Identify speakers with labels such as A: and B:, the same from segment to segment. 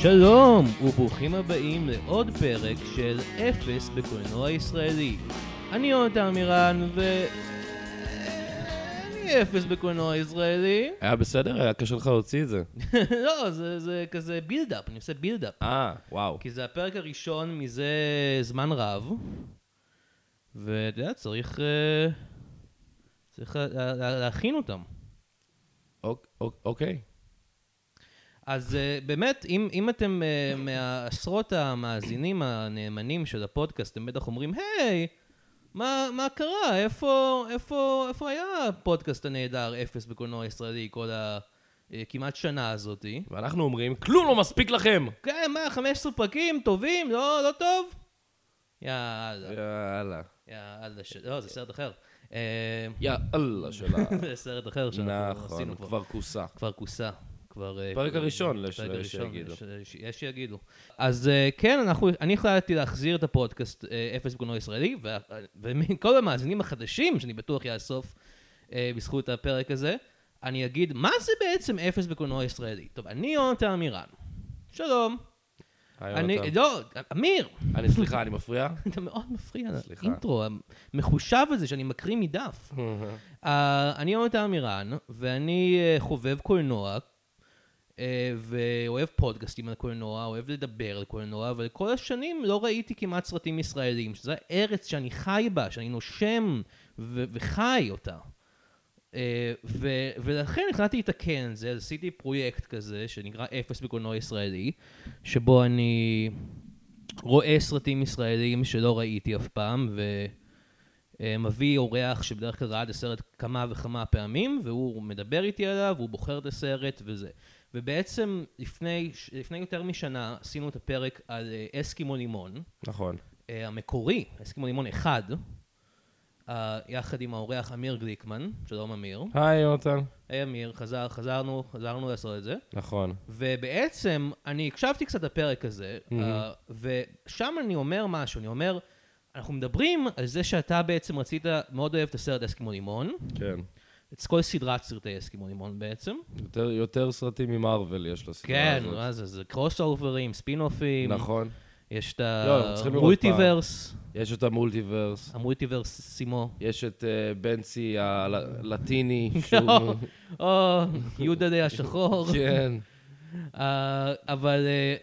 A: שלום, וברוכים הבאים לעוד פרק של אפס בקולנוע הישראלי. אני יונתן מירן, ו... אני אפס בקולנוע הישראלי.
B: היה בסדר? היה קשה לך להוציא את זה.
A: לא, זה, זה כזה בילדאפ, אני עושה בילדאפ.
B: אה, וואו.
A: כי זה הפרק הראשון מזה זמן רב, ואתה יודע, צריך... אה, צריך לה- לה- לה- להכין אותם.
B: אוק- אוק- אוקיי.
A: אז אה, באמת, אם, אם אתם אה, מהעשרות המאזינים הנאמנים של הפודקאסט, אתם בטח אומרים, היי, מה, מה קרה? איפה, איפה, איפה היה הפודקאסט הנהדר אפס בקולנוע הישראלי כל ה... אה, כמעט שנה הזאתי?
B: ואנחנו אומרים, כלום לא מספיק לכם!
A: כן, מה, 15 פרקים טובים? לא, לא טוב? יאללה,
B: אה. יאללה.
A: יאללה, ש... לא, זה סרט אחר. אה,
B: יאללה שלה.
A: זה סרט אחר שאנחנו
B: נכון,
A: עשינו כבר.
B: כבר כוסה.
A: כבר כוסה. כבר... אה,
B: פרק
A: כבר-
B: הראשון,
A: פרק
B: יש- יש
A: הראשון,
B: שיגידו.
A: יש- יש- אה, יש שיגידו. אז אה, כן, אנחנו, אני החלטתי להחזיר את הפודקאסט אה, אפס בקולנוע ישראלי, וה- ומכל המאזינים החדשים, שאני בטוח יאסוף אה, בזכות הפרק הזה, אני אגיד, מה זה בעצם אפס בקולנוע ישראלי? טוב, אני יונתן אמירן. שלום.
B: היי,
A: אני,
B: יונתן.
A: לא, אמיר,
B: אני, סליחה, אני מפריע?
A: אתה מאוד מפריע
B: סליחה.
A: לאינטרו המחושב הזה שאני מקריא מדף. Uh, אני יונתן מירן, ואני uh, חובב קולנוע, uh, ואוהב פודקאסטים על קולנוע, אוהב לדבר על קולנוע, אבל כל השנים לא ראיתי כמעט סרטים ישראלים, שזו הארץ שאני חי בה, שאני נושם ו- וחי אותה. Uh, ו- ולכן החלטתי לתקן את זה, אז עשיתי פרויקט כזה שנקרא אפס בקולנוע ישראלי, שבו אני רואה סרטים ישראלים שלא ראיתי אף פעם, ו... אה, מביא אורח שבדרך כלל ראה את הסרט כמה וכמה פעמים, והוא מדבר איתי עליו, הוא בוחר את הסרט וזה. ובעצם לפני, ש- לפני יותר משנה עשינו את הפרק על אה, אסקימו לימון,
B: נכון.
A: אה, המקורי, אסקימו לימון אחד, אה, יחד עם האורח אמיר גליקמן, שלום אמיר.
B: היי, יונתן.
A: היי אמיר, חזר, חזרנו, חזרנו לעשות את זה.
B: נכון.
A: ובעצם, אני הקשבתי קצת לפרק הזה, אה, ושם אני אומר משהו, אני אומר, אנחנו מדברים על זה שאתה בעצם רצית, מאוד אוהב את הסרט אסקימו לימון,
B: כן.
A: את כל סדרת סרטי אסקימו לימון בעצם.
B: יותר- יותר סרטים ממרוויל יש לסדרה
A: כן,
B: הזאת.
A: מה זה, זה קרוס אוברים, ספין אופים,
B: נכון.
A: יש את
B: לא, אנחנו צריכים לראות פעם.
A: המולטיברס,
B: יש את המולטיברס.
A: המולטיברס סימו.
B: יש את אה, בנצי הלטיני,
A: או,
B: שהוא...
A: לא. או, יהודה די השחור.
B: כן.
A: אה, אבל, אה,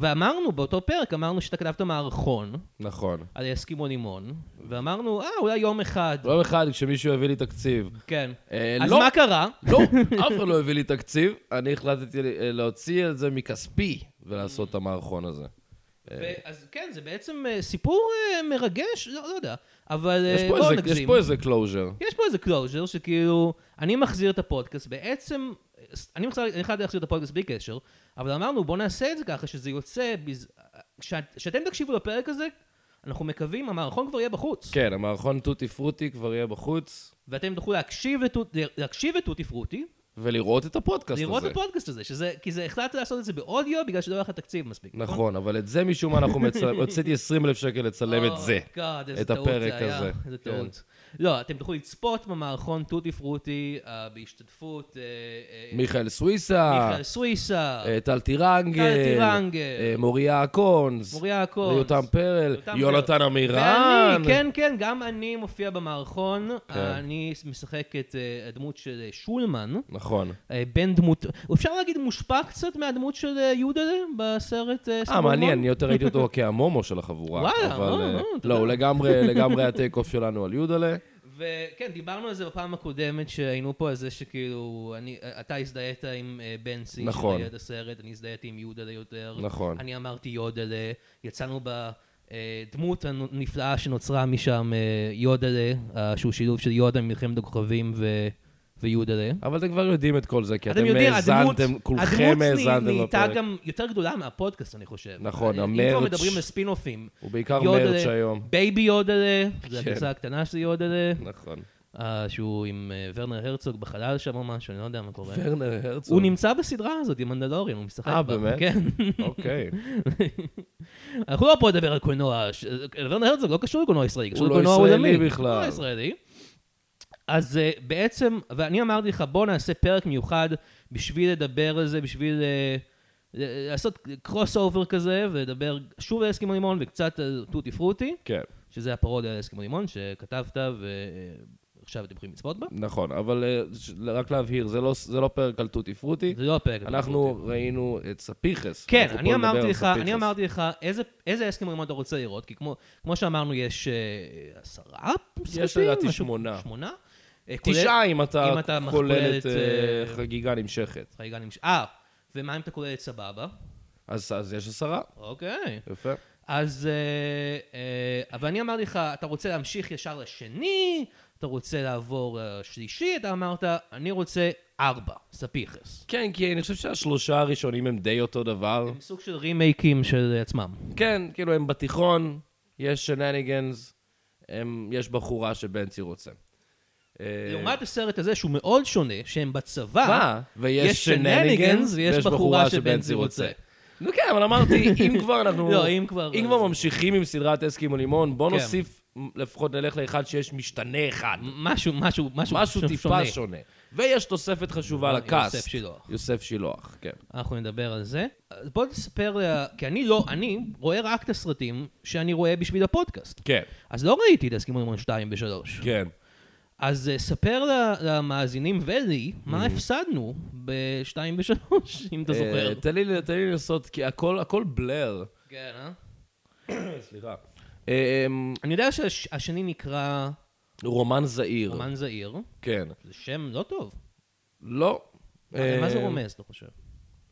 A: ואמרנו, באותו פרק אמרנו שאתה כתבת מערכון.
B: נכון.
A: על אסקימו לימון, ואמרנו, אה, אולי יום אחד,
B: יום אחד כשמישהו הביא לי תקציב,
A: כן.
B: אה,
A: אז
B: לא.
A: מה קרה?
B: לא, אף אחד לא הביא לי תקציב, אני החלטתי אה, להוציא את זה מכספי ולעשות את המערכון הזה.
A: אז כן, זה בעצם אה, סיפור אה, מרגש, לא לא יודע, אבל
B: יש
A: אה,
B: פה
A: בואו
B: איזה- יש
A: נגזים.
B: פה איזה קלוז'ר.
A: יש פה איזה קלוז'ר שכאילו, אני מחזיר את הפודקאסט, בעצם, אה, אני מחזיר- אני חייב להחזיר את הפודקאסט בלי קשר, אבל אמרנו, בואו נעשה את זה ככה, שזה יוצא, בז- שאת- שאתם תקשיבו לפרק הזה, אנחנו מקווים, המערכון כבר יהיה בחוץ.
B: כן, המערכון תותי פרוטי כבר יהיה בחוץ,
A: ואתם תוכלו להקשיב לתות- להקשיב לתותי פרוטי,
B: ולראות את הפודקאסט
A: לראות את
B: הזה.
A: הפודקאסט הזה, שזה, כי זה החלטת לעשות את זה באודיו בגלל שלא היה לך תקציב מספיק.
B: נכון, אבל את זה משום מה אנחנו מצלמים, הוצאתי 20 אלף שקל לצלם את זה.
A: Oh God, איזה
B: את
A: טעות
B: הפרק
A: זה היה,
B: הזה.
A: איזה
B: כן.
A: טעות. לא, אתם תוכלו לצפות במערכון טוטי פרוטי אה, בהשתתפות אה, אה,
B: מיכאל סוויסה,
A: מיכאל סוויסה,
B: אה, טל טירנגל,
A: טל טירנגל,
B: אה, מוריה אקונס,
A: מוריה הקונס.
B: יותם פרל,
A: יותם
B: יונתן
A: פרל.
B: עמירן.
A: ואני, כן, כן, גם אני מופיע במערכון.
B: כן.
A: אה, אני משחק את אה, הדמות של אה, שולמן.
B: נכון.
A: אה, בן דמות, אפשר להגיד מושפע קצת מהדמות של אה, יהודה בסרט אה,
B: אה,
A: סמורמון?
B: מעניין, אני יותר ראיתי אותו כהמומו של החבורה.
A: וואלה,
B: אבל,
A: אה,
B: אה,
A: אה, אתה
B: לא,
A: יודע.
B: הוא לגמרי, לגמרי הטייק אוף שלנו על יודלה.
A: וכן, דיברנו על זה בפעם הקודמת שהיינו פה, על זה שכאילו, אני, אתה הזדהית עם אה, בנסי,
B: נכון.
A: שליד הסרט, אני הזדהיתי עם יודלה יותר.
B: נכון.
A: אני אמרתי יודלה, יצאנו אה, בדמות הנפלאה שנוצרה משם, אה, יודלה, אה, שהוא שילוב של יודה ממלחמת הכוכבים ו... ויודלה.
B: אבל אתם כבר יודעים את כל זה, כי
A: אתם
B: אתם
A: יודעים, הדמות,
B: האזנתם, כולכם
A: הדמות
B: האזנתם
A: נהייתה
B: בפרק.
A: גם יותר גדולה מהפודקאסט, אני חושב. אה,
B: נכון,
A: אם כבר
B: המרץ'.
A: מדברים על ספינופים.
B: הוא בעיקר
A: יודלה,
B: מרץ' היום.
A: בייבי יודלה, זו
B: כן.
A: הגרסה הקטנה של יודלה.
B: נכון.
A: אה, שהוא עם אה, ורנר הרצוג בחלל שם או משהו, אני לא יודע מה קורה.
B: ורנר הרצוג.
A: הוא נמצא בסדרה הזאת עם מנדלוריאן, הוא משחק בה.
B: אה, באמת?
A: כן.
B: אוקיי.
A: אנחנו לא פה לדבר על קולנוע, ש- ורנר הרצוג לא קשור לקולנוע ישראלי, קשור
B: לא
A: לקולנוע
B: ישראלי
A: עולמי.
B: בכלל.
A: הוא לא ישראלי. אז אה, בעצם, ואני אמרתי לך, בוא נעשה פרק מיוחד בשביל לדבר על זה, בשביל אה, אה, לעשות קרוס אובר כזה, ולדבר שוב על אסקימו לימון וקצת על טוטי פרוטי,
B: כן,
A: שזה הפרודיה על אסקימו לימון שכתבת, ועכשיו אתם יכולים לצפות בה.
B: נכון, אבל אה, ש- רק להבהיר, זה לא- זה לא פרק על טוטי פרוטי.
A: זה לא הפרק. על טוטי פרוטי.
B: אנחנו ראינו את ספיחס.
A: כן,
B: אנחנו
A: אני
B: פה נדבר
A: אמרתי
B: על
A: לך,
B: ספיחס.
A: אני אמרתי לך, איזה- איזה אסקימו רימון אתה רוצה לראות? כי כמו- כמו שאמרנו, יש אה, עשרה סרטים?
B: לדעתי
A: משהו-
B: שמונה.
A: שמונה? אה, כולל-
B: תשעה אם אתה
A: אם אתה
B: כולל את
A: מכולל
B: אה,
A: את, אה,
B: חגיגה נמשכת.
A: רגע, אני... מש- אה, ומה אם אתה כולל את סבבה?
B: אז אז יש עשרה.
A: אוקיי.
B: יפה.
A: אז... אה, אה, אבל אני אמרתי לך, אתה רוצה להמשיך ישר לשני, אתה רוצה לעבור אה, שלישי, אתה אמרת, אני רוצה ארבע, ספיחס.
B: כן, כי אני חושב שהשלושה הראשונים הם די אותו דבר.
A: הם סוג של רימייקים של עצמם.
B: כן, כאילו הם בתיכון, יש שנניגנס, הם- יש בחורה שבנצי רוצה. אה,
A: לעומת הסרט הזה, שהוא מאוד שונה, שהם בצבא,
B: מה? ויש
A: אה, יש שנניגנס,
B: שנניגנס,
A: ויש
B: ויש
A: בחורה
B: בחורה
A: שבנצי
B: שבנצי רוצה.
A: רוצה.
B: נו כן, אבל אמרתי, אם כבר אנחנו...
A: לא, אם כבר-
B: אם כבר ממשיכים עם סדרת אסקימו לימון, בוא
A: כן.
B: נוסיף, לפחות נלך לאחד שיש משתנה אחד.
A: משהו, משהו, משהו,
B: משהו
A: שונה. אה,
B: טיפה שונה. ויש תוספת חשובה
A: יוסף
B: לקאסט.
A: שילוח.
B: יוסף שילוח, כן.
A: אנחנו נדבר על זה. אז בוא תספר, לה- כי אני לא, אני רואה רק את הסרטים שאני רואה בשביל הפודקאסט.
B: כן,
A: אז לא ראיתי את הסכימו עם 2 ו-3.
B: כן.
A: אז אה, ספר ל- למאזינים ולי מה הפסדנו ב-2 ו-3, אם אתה זוכר.
B: Mm-hmm. אה, תן לי- תן לי לנסות, כי הכל הכל בלר.
A: כן, אה?
B: סליחה. אה, אמ,
A: אני יודע שהשני נקרא
B: רומן זעיר.
A: רומן זעיר,
B: כן.
A: זה שם לא טוב.
B: לא.
A: אבל מה זה
B: אה,
A: רומז, אתה חושב?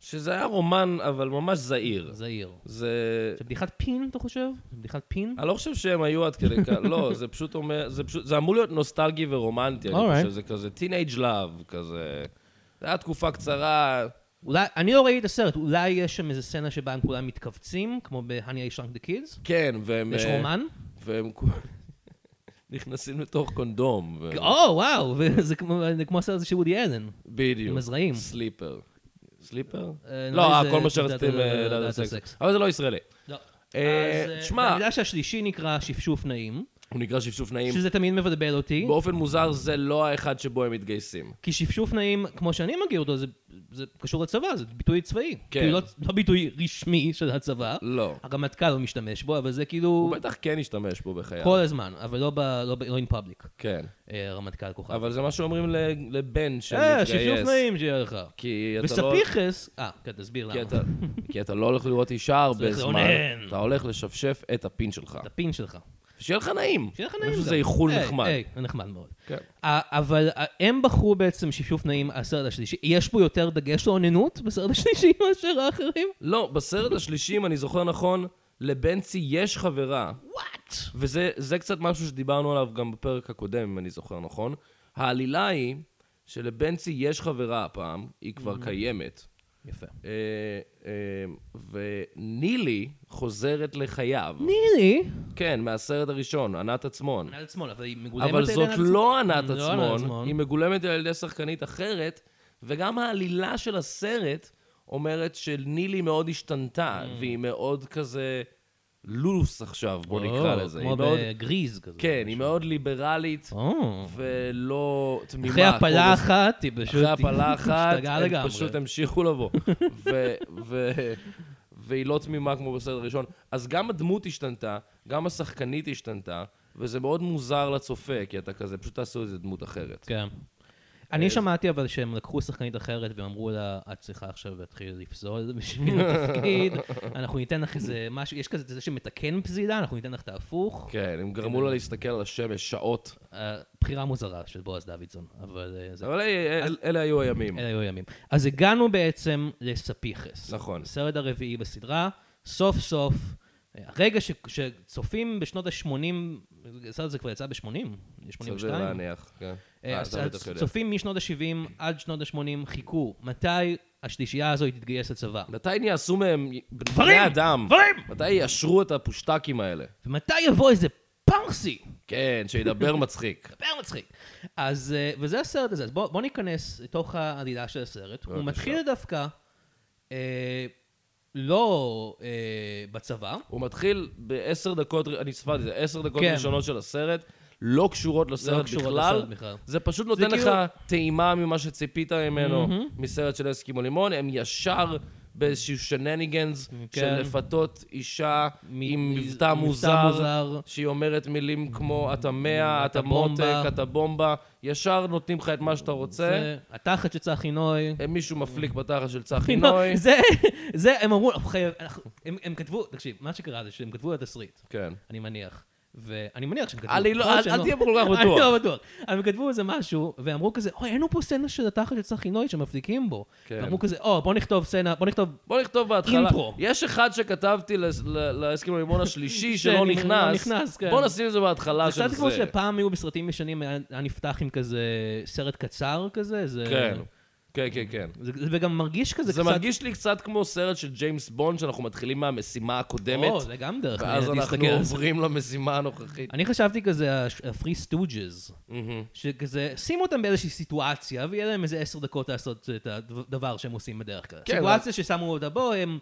B: שזה היה רומן, אבל ממש זעיר.
A: זעיר.
B: זה...
A: זה בדיחת פין, אתה חושב? זה בדיחת פין?
B: אני לא חושב שהם היו עד כדי כך, לא, זה פשוט אומר, זה פשוט, זה אמור להיות נוסטלגי ורומנטי, אני
A: Alright.
B: חושב, זה כזה teenage love, כזה. זה היה תקופה קצרה,
A: אולי, אני לא ראיתי את הסרט, אולי יש שם איזה סצנה שבה הם כולם מתכווצים, כמו ב-Honey I Shrunk the Kids?
B: כן, והם...
A: יש
B: אה,
A: רומן?
B: והם כו- נכנסים לתוך קונדום. ו-
A: או, וואו, וזה כמו- זה כמו הסרט הזה של וודי אלן.
B: בדיוק.
A: עם הזרעים.
B: סליפר. סליפר?
A: אה,
B: לא,
A: נראה לי
B: אה,
A: זה
B: כל מה
A: פשוט
B: שרציתם
A: דעת-
B: אה,
A: דעת
B: לדעת על
A: הסקס.
B: סקס. אבל זה לא ישראלי.
A: לא.
B: אה,
A: אז, אה,
B: תשמע-
A: אני יודע שהשלישי נקרא שפשוף נעים,
B: הוא נקרא שפשוף נעים.
A: שזה תמיד מבלבל אותי,
B: באופן מוזר זה לא האחד שבו הם מתגייסים.
A: כי שפשוף נעים, כמו שאני מכיר אותו, זה- זה קשור לצבא, זה ביטוי צבאי.
B: כן.
A: כאילו, לא- לא ביטוי רשמי של הצבא.
B: לא.
A: הרמטכ"ל לא משתמש בו, אבל זה כאילו
B: הוא בטח כן השתמש בו בחייו.
A: כל הזמן, אבל לא ב- לא ב- לא in public,
B: כן.
A: אה, הרמטכ"ל כוכב.
B: אבל זה מה שאומרים ל- לבן
A: אה, שפשוף
B: שמתגייס.
A: נעים שיהיה לך.
B: כי אתה לא...
A: וספיחס, אה, כן, תסביר
B: כי
A: למה.
B: אתה, כי אתה לא הולך לראות אישה הרבה
A: צריך
B: זמן,
A: לאונן.
B: אתה הולך לשפשף את הפין שלך.
A: את הפין שלך.
B: שיהיה לך נעים.
A: שיהיה לך
B: אני
A: נעים.
B: חושב שזה
A: גם. אה,
B: איחול
A: היי,
B: נחמד.
A: היי, זה נחמד מאוד.
B: כן.
A: אה, אבל אה, הם בחרו בעצם שפשוף נעים, הסרט השלישי. יש פה יותר דגש לאוננות בסרט השלישי מאשר האחרים?
B: לא, בסרט השלישי, אם אני זוכר נכון, לבנצי יש חברה,
A: וואט?
B: וזה זה קצת משהו שדיברנו עליו גם בפרק הקודם, אם אני זוכר נכון. העלילה היא שלבנצי יש חברה הפעם, היא כבר
A: Mm-hmm.
B: קיימת,
A: יפה.
B: אה, אה, ונילי חוזרת לחייו.
A: נילי.
B: כן, מהסרט הראשון, ענת עצמון.
A: ענת עצמון, אבל היא מגולמת
B: אבל
A: על ידי
B: זאת
A: ענת עצמון.
B: לא ענת
A: לא ענת
B: עצמון,
A: עצמון.
B: היא מגולמת על ידי שחקנית אחרת, וגם העלילה של הסרט אומרת שנילי מאוד השתנתה,
A: Mm.
B: והיא מאוד כזה לוס עכשיו, בוא נקרא
A: או,
B: לזה.
A: כמו
B: היא מאוד-
A: בגריז כזה.
B: כן, היא מאוד ליברלית
A: או.
B: ולא תמימה.
A: אחרי הפלה
B: כמו-
A: אחת, היא פשוט...
B: אחרי הפלה אחת,
A: השתגעה
B: הם
A: לגמרי.
B: פשוט המשיכו לבוא. ו- ו- והיא לא תמימה כמו בסרט הראשון. אז גם הדמות השתנתה, גם השחקנית השתנתה, וזה מאוד מוזר לצופה, כי אתה כזה, פשוט תעשו איזה דמות אחרת.
A: כן.
B: אה,
A: אני שמעתי אבל שהם לקחו שחקנית אחרת והם אמרו לה, את צריכה עכשיו להתחיל לפסול בשביל התפקיד, אנחנו ניתן לך איזה משהו, יש כזה זה שמתקן פזילה, אנחנו ניתן לך את ההפוך.
B: כן, הם גרמו לה להסתכל על השמש שעות.
A: אה, בחירה מוזרה של בועז דוידסון, אבל אה, זה...
B: אבל אלה- אלה- אלה היו הימים.
A: אלה היו הימים. אז הגענו בעצם לספיחס.
B: נכון.
A: הסרט הרביעי בסדרה, סוף סוף, אה, הרגע ש- שצופים בשנות ה-80, הסרט הזה כבר יצא ב-80, 82.
B: סביר להניח. כן.
A: אה,
B: אה,
A: אז-
B: אתה
A: אז
B: בטח יודע.
A: צופים משנות ה-70 עד שנות ה-80 חיכו, מתי השלישייה הזו תתגייס לצבא?
B: מתי נעשו מהם
A: גברים!
B: בני אדם?
A: גברים!
B: מתי יאשרו את הפושטקים האלה?
A: ומתי יבוא איזה פרסי?
B: כן, שידבר מצחיק.
A: דבר מצחיק. אז, אה, וזה הסרט הזה, אז בואו בוא ניכנס לתוך העלילה של הסרט. הוא
B: בבקשה.
A: מתחיל דווקא אה, לא אה, בצבא,
B: הוא מתחיל בעשר דקות, אני צפרתי את זה, עשר דקות
A: כן.
B: ראשונות של הסרט, לא קשורות לסרט
A: לא קשורות
B: בכלל.
A: לסרט בכלל.
B: זה פשוט נותן
A: כאילו-
B: לך טעימה ממה שציפית ממנו, מסרט של אסקימו לימון, הם ישר באיזשהו שנניגנס של
A: כן.
B: לפתות אישה
A: מ-
B: עם
A: מ-
B: מבטא מוזר, שהיא אומרת מילים כמו אתה מאה, אתה
A: אתה
B: מותק,
A: בומבה."
B: אתה בומבה, ישר נותנים לך את מה שאתה רוצה.
A: זה התחת של צחי נוי.
B: מישהו מפליק בתחת של צחי נוי.
A: פינוי. זה, זה, הם אמרו, "אנחנו חייב- אנחנו- הם הם כתבו, תקשיב, מה שקרה זה שהם כתבו את התסריט,
B: כן. אני
A: אני מניח. ואני מניח שהם כתבו.
B: אני לא-
A: יכול להיות
B: אל-
A: שהם
B: אל תהיה כל כך
A: אני
B: בטוח.
A: לא בטוח. הם כתבו איזה משהו, ואמרו כזה, אוי, אין לנו פה סצנה של התחת של צחי נוי שמפליקים בו.
B: כן.
A: ואמרו כזה, או, בוא נכתוב סצנה, בוא נכתוב...
B: בוא נכתוב בהתחלה.
A: אינטרו.
B: יש אחד שכתבתי לס- ל- להסכם הלימון השלישי שלא
A: שאני- לא
B: נכנס.
A: נכנס, כן.
B: בוא נשים את זה בהתחלה
A: זה
B: אה, של
A: קצת כמו
B: זה.
A: שפעם היו בסרטים ישנים, היה היה נפתח עם כזה סרט קצר כזה, זה...
B: כן, כן, כן, כן.
A: זה- זה- וגם מרגיש כזה
B: זה
A: קצת...
B: מרגיש לי קצת כמו סרט של ג'יימס בונד, שאנחנו מתחילים מהמשימה הקודמת,
A: או, זה גם דרך
B: ואז
A: מעניינת
B: אנחנו
A: להסתכל על זה.
B: עוברים למשימה הנוכחית.
A: אני חשבתי כזה, הפרי סטוג'ז, שכזה, שימו אותם באיזושהי סיטואציה, ויהיה להם איזה עשר דקות לעשות את הדבר שהם עושים בדרך כלל.
B: כן,
A: סיטואציה ששמו אותה בו, הם...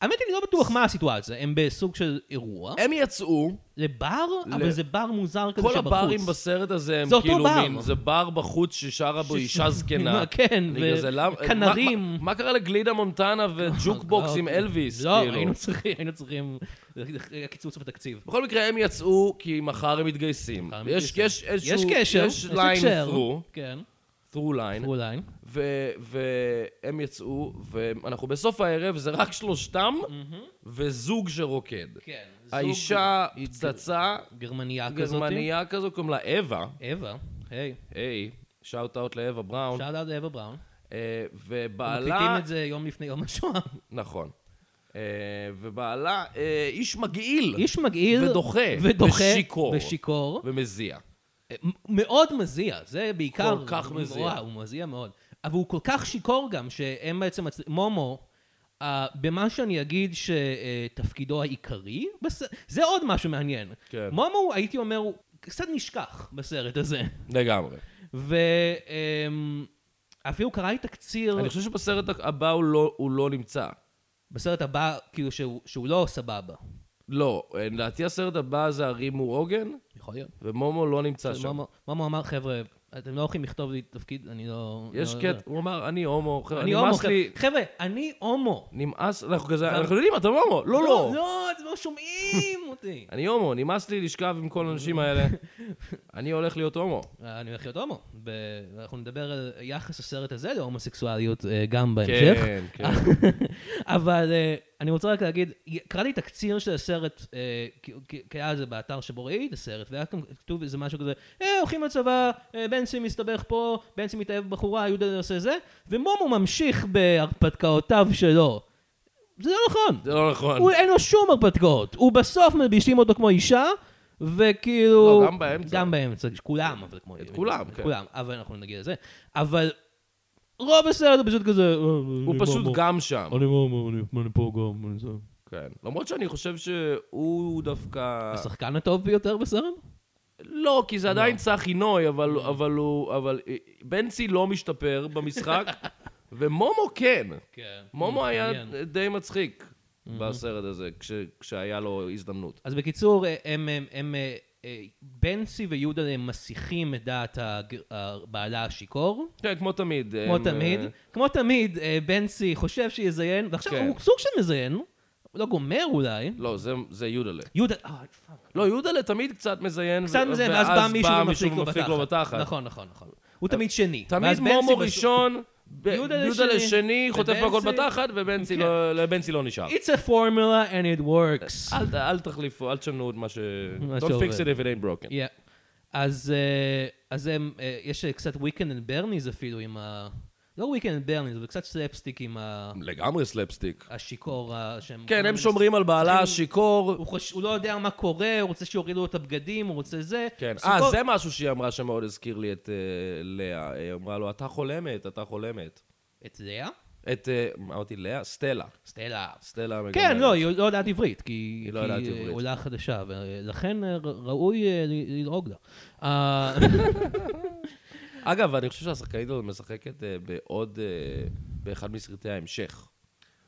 A: האמת היא, אני לא בטוח מה הסיטואציה, הם בסוג של אירוע.
B: הם יצאו,
A: זה בר,
B: ל-
A: אבל זה בר מוזר לא- כזה
B: כל
A: שבחוץ.
B: הברים בסרט הזה הם
A: זה אותו
B: כאילו
A: בר.
B: מין, זה בר בחוץ ששרה בו
A: ש-
B: אישה זקנה.
A: כן,
B: אני
A: ו-
B: כזה, למה-
A: כנרים.
B: מה- מה- מה קרה לגלידה מונטנה וג'וקבוקס עם אלוויס?
A: לא,
B: כאילו?
A: היינו צריכים, היינו צריכים... היה קיצוץ בתקציב.
B: בכל מקרה, הם יצאו כי מחר הם מתגייסים.
A: מחר הם
B: יש
A: מתגייסים.
B: יש איזשהו...
A: יש קשר,
B: יש
A: יש
B: ליין
A: הקשר.
B: through,
A: כן,
B: כן. through line,
A: אולי.
B: ו- והם יצאו, ואנחנו בסוף הערב, זה רק שלושתם, וזוג שרוקד.
A: כן. זוג
B: האישה היא פצצה
A: גרמניה כזאת.
B: גרמניה כזו, קוראים לה אווה,
A: אווה, היי.
B: היי, שאוט אאוט לאווה בראון,
A: שאל עד אווה בראון.
B: אה, ובעלה...
A: מקליטים את זה יום לפני יום השואה.
B: נכון. אה, ובעלה אה, איש מגעיל.
A: איש מגעיל.
B: ודוחה.
A: ודוחה.
B: ושיכור.
A: ושיכור.
B: ומזיע.
A: מ- מאוד מזיע, זה בעיקר...
B: כל כך מזיע.
A: וואו, הוא מזיע מאוד. אבל הוא כל כך שיכור גם, שהם בעצם... מצ- מומו, uh, במה שאני אגיד שתפקידו העיקרי, בס... זה עוד משהו מעניין.
B: כן.
A: מומו, הייתי אומר, הוא קצת נשכח בסרט הזה. אמ,
B: לגמרי.
A: ואפילו קראתי תקציר
B: אני חושב שבסרט הבא הוא לא, הוא לא נמצא.
A: בסרט הבא, כאילו שהוא, שהוא לא סבבה.
B: לא, אה, לדעתי הסרט הבא זה הרים הוא עוגן,
A: יכול להיות.
B: ומומו לא נמצא שם.
A: מומו, מומו אמר, חבר'ה, אתם לא הולכים לכתוב לי תפקיד, אני לא...
B: יש
A: לא-
B: קטע, הוא אמר, אני הומו, חבר'ה,
A: אני הומו,
B: נמאס לי,
A: חבר'ה, חבר'ה, אני הומו.
B: נמאס, אנחנו כזה, אנחנו יודעים, אתה הומו, לא,
A: לא,
B: לא.
A: לא, אתם לא שומעים אותי.
B: אני הומו, נמאס לי לשכב עם כל האנשים האלה. אני הולך להיות הומו.
A: אני הולך להיות הומו. ב- אנחנו נדבר על יחס הסרט הזה להומוסקסואליות אה, גם בהמשך.
B: כן.
A: אבל אה, אני רוצה רק להגיד, קראתי תקציר של הסרט, אה, כי- כי- כי היה זה באתר שבו ראיתי את הסרט, והיה כאן כתוב איזה משהו כזה, אה, הולכים לצבא, אה, בנסי מסתבך פה, בנסי מתאהב בבחורה, יהודה עושה זה, ומומו ממשיך בהרפתקאותיו שלו. זה לא נכון.
B: זה לא נכון.
A: הוא אין לו שום הרפתקאות. הוא בסוף מלבישים אותו כמו אישה, וכאילו...
B: לא, גם באמצע.
A: גם באמצע, כולם, אבל כמו...
B: את כולם,
A: את
B: כן.
A: כולם, אבל אנחנו נגיע לזה. אבל רוב הסרט הוא פשוט כזה... "אה,
B: הוא פשוט גם שם.
A: אני מומו, אני- אני פה גם, אני זה.
B: כן. למרות שאני חושב שהוא דווקא...
A: השחקן הטוב ביותר בסרט?
B: לא, כי זה עדיין צחי נוי, אבל, אבל הוא... אבל אה, בנצי לא משתפר במשחק, ומומו כן.
A: כן.
B: מומו היה
A: מעניין.
B: די מצחיק בסרט הזה, כש, כשהיה לו הזדמנות.
A: אז בקיצור, אה, הם... הם- הם, אה, אה, בנסי ויהודה הם מסיחים את דעת הג- הבעלה השיכור.
B: כן, כמו תמיד.
A: כמו
B: הם,
A: תמיד.
B: אה,
A: כמו תמיד, אה, בנסי חושב שיזיין, ועכשיו
B: כן.
A: הוא סוג של מזיין, הוא לא גומר אולי.
B: לא, זה, זה יודלה.
A: יהודה, אה, פאק.
B: לא, יודלה תמיד קצת מזיין.
A: קצת
B: ו-
A: מזיין, ואז בא מישהו
B: מישהו
A: ומפסיק לו בתחת. נכון, נכון, נכון. הוא תמיד שני.
B: אה, תמיד
A: ואז בנסי
B: מומו
A: בסוף-
B: ראשון, ב-
A: יודלה
B: יודלה
A: שני,
B: שני, חוטף מכות
A: ובנצי-
B: בתחת, ובנצי
A: כן.
B: לא- לבנצי לא נשאר.
A: It's a formula and it works.
B: אל, ת- אל תחליפו, אל תשנו את מה ש...
A: מה
B: Don't
A: שעובד.
B: fix it if it ain't broken.
A: Yeah. אז אה, אז הם, אה, יש אה, קצת weekend and Bernie's אפילו עם ה... לא weekend and Bernie's, אבל קצת סלפסטיק עם ה-
B: לגמרי סלפסטיק.
A: השיכור ה- שהם...
B: כן, הם שומרים על בעלה השיכור.
A: הוא חוש- הוא לא יודע מה קורה, הוא רוצה שיורידו לו את הבגדים, הוא רוצה זה.
B: כן.
A: שיכור-
B: אה, זה משהו שהיא אמרה שמאוד הזכיר לי את אה, לאה. היא אמרה לו, אתה חולמת, אתה חולמת.
A: את לאה?
B: את, אה, מה אמרתי, לאה? סטלה.
A: סטלה.
B: סטלה המגמרת.
A: כן, לא, היא לא יודעת עברית, כי היא
B: לא יודעת עברית.
A: עולה חדשה, ולכן אה, ר- ראוי אה, ל- לדאוג לה. אה,
B: אגב, אני חושב שהשחקנית הזאת משחקת אה, בעוד... אה, באחד מסרטי ההמשך.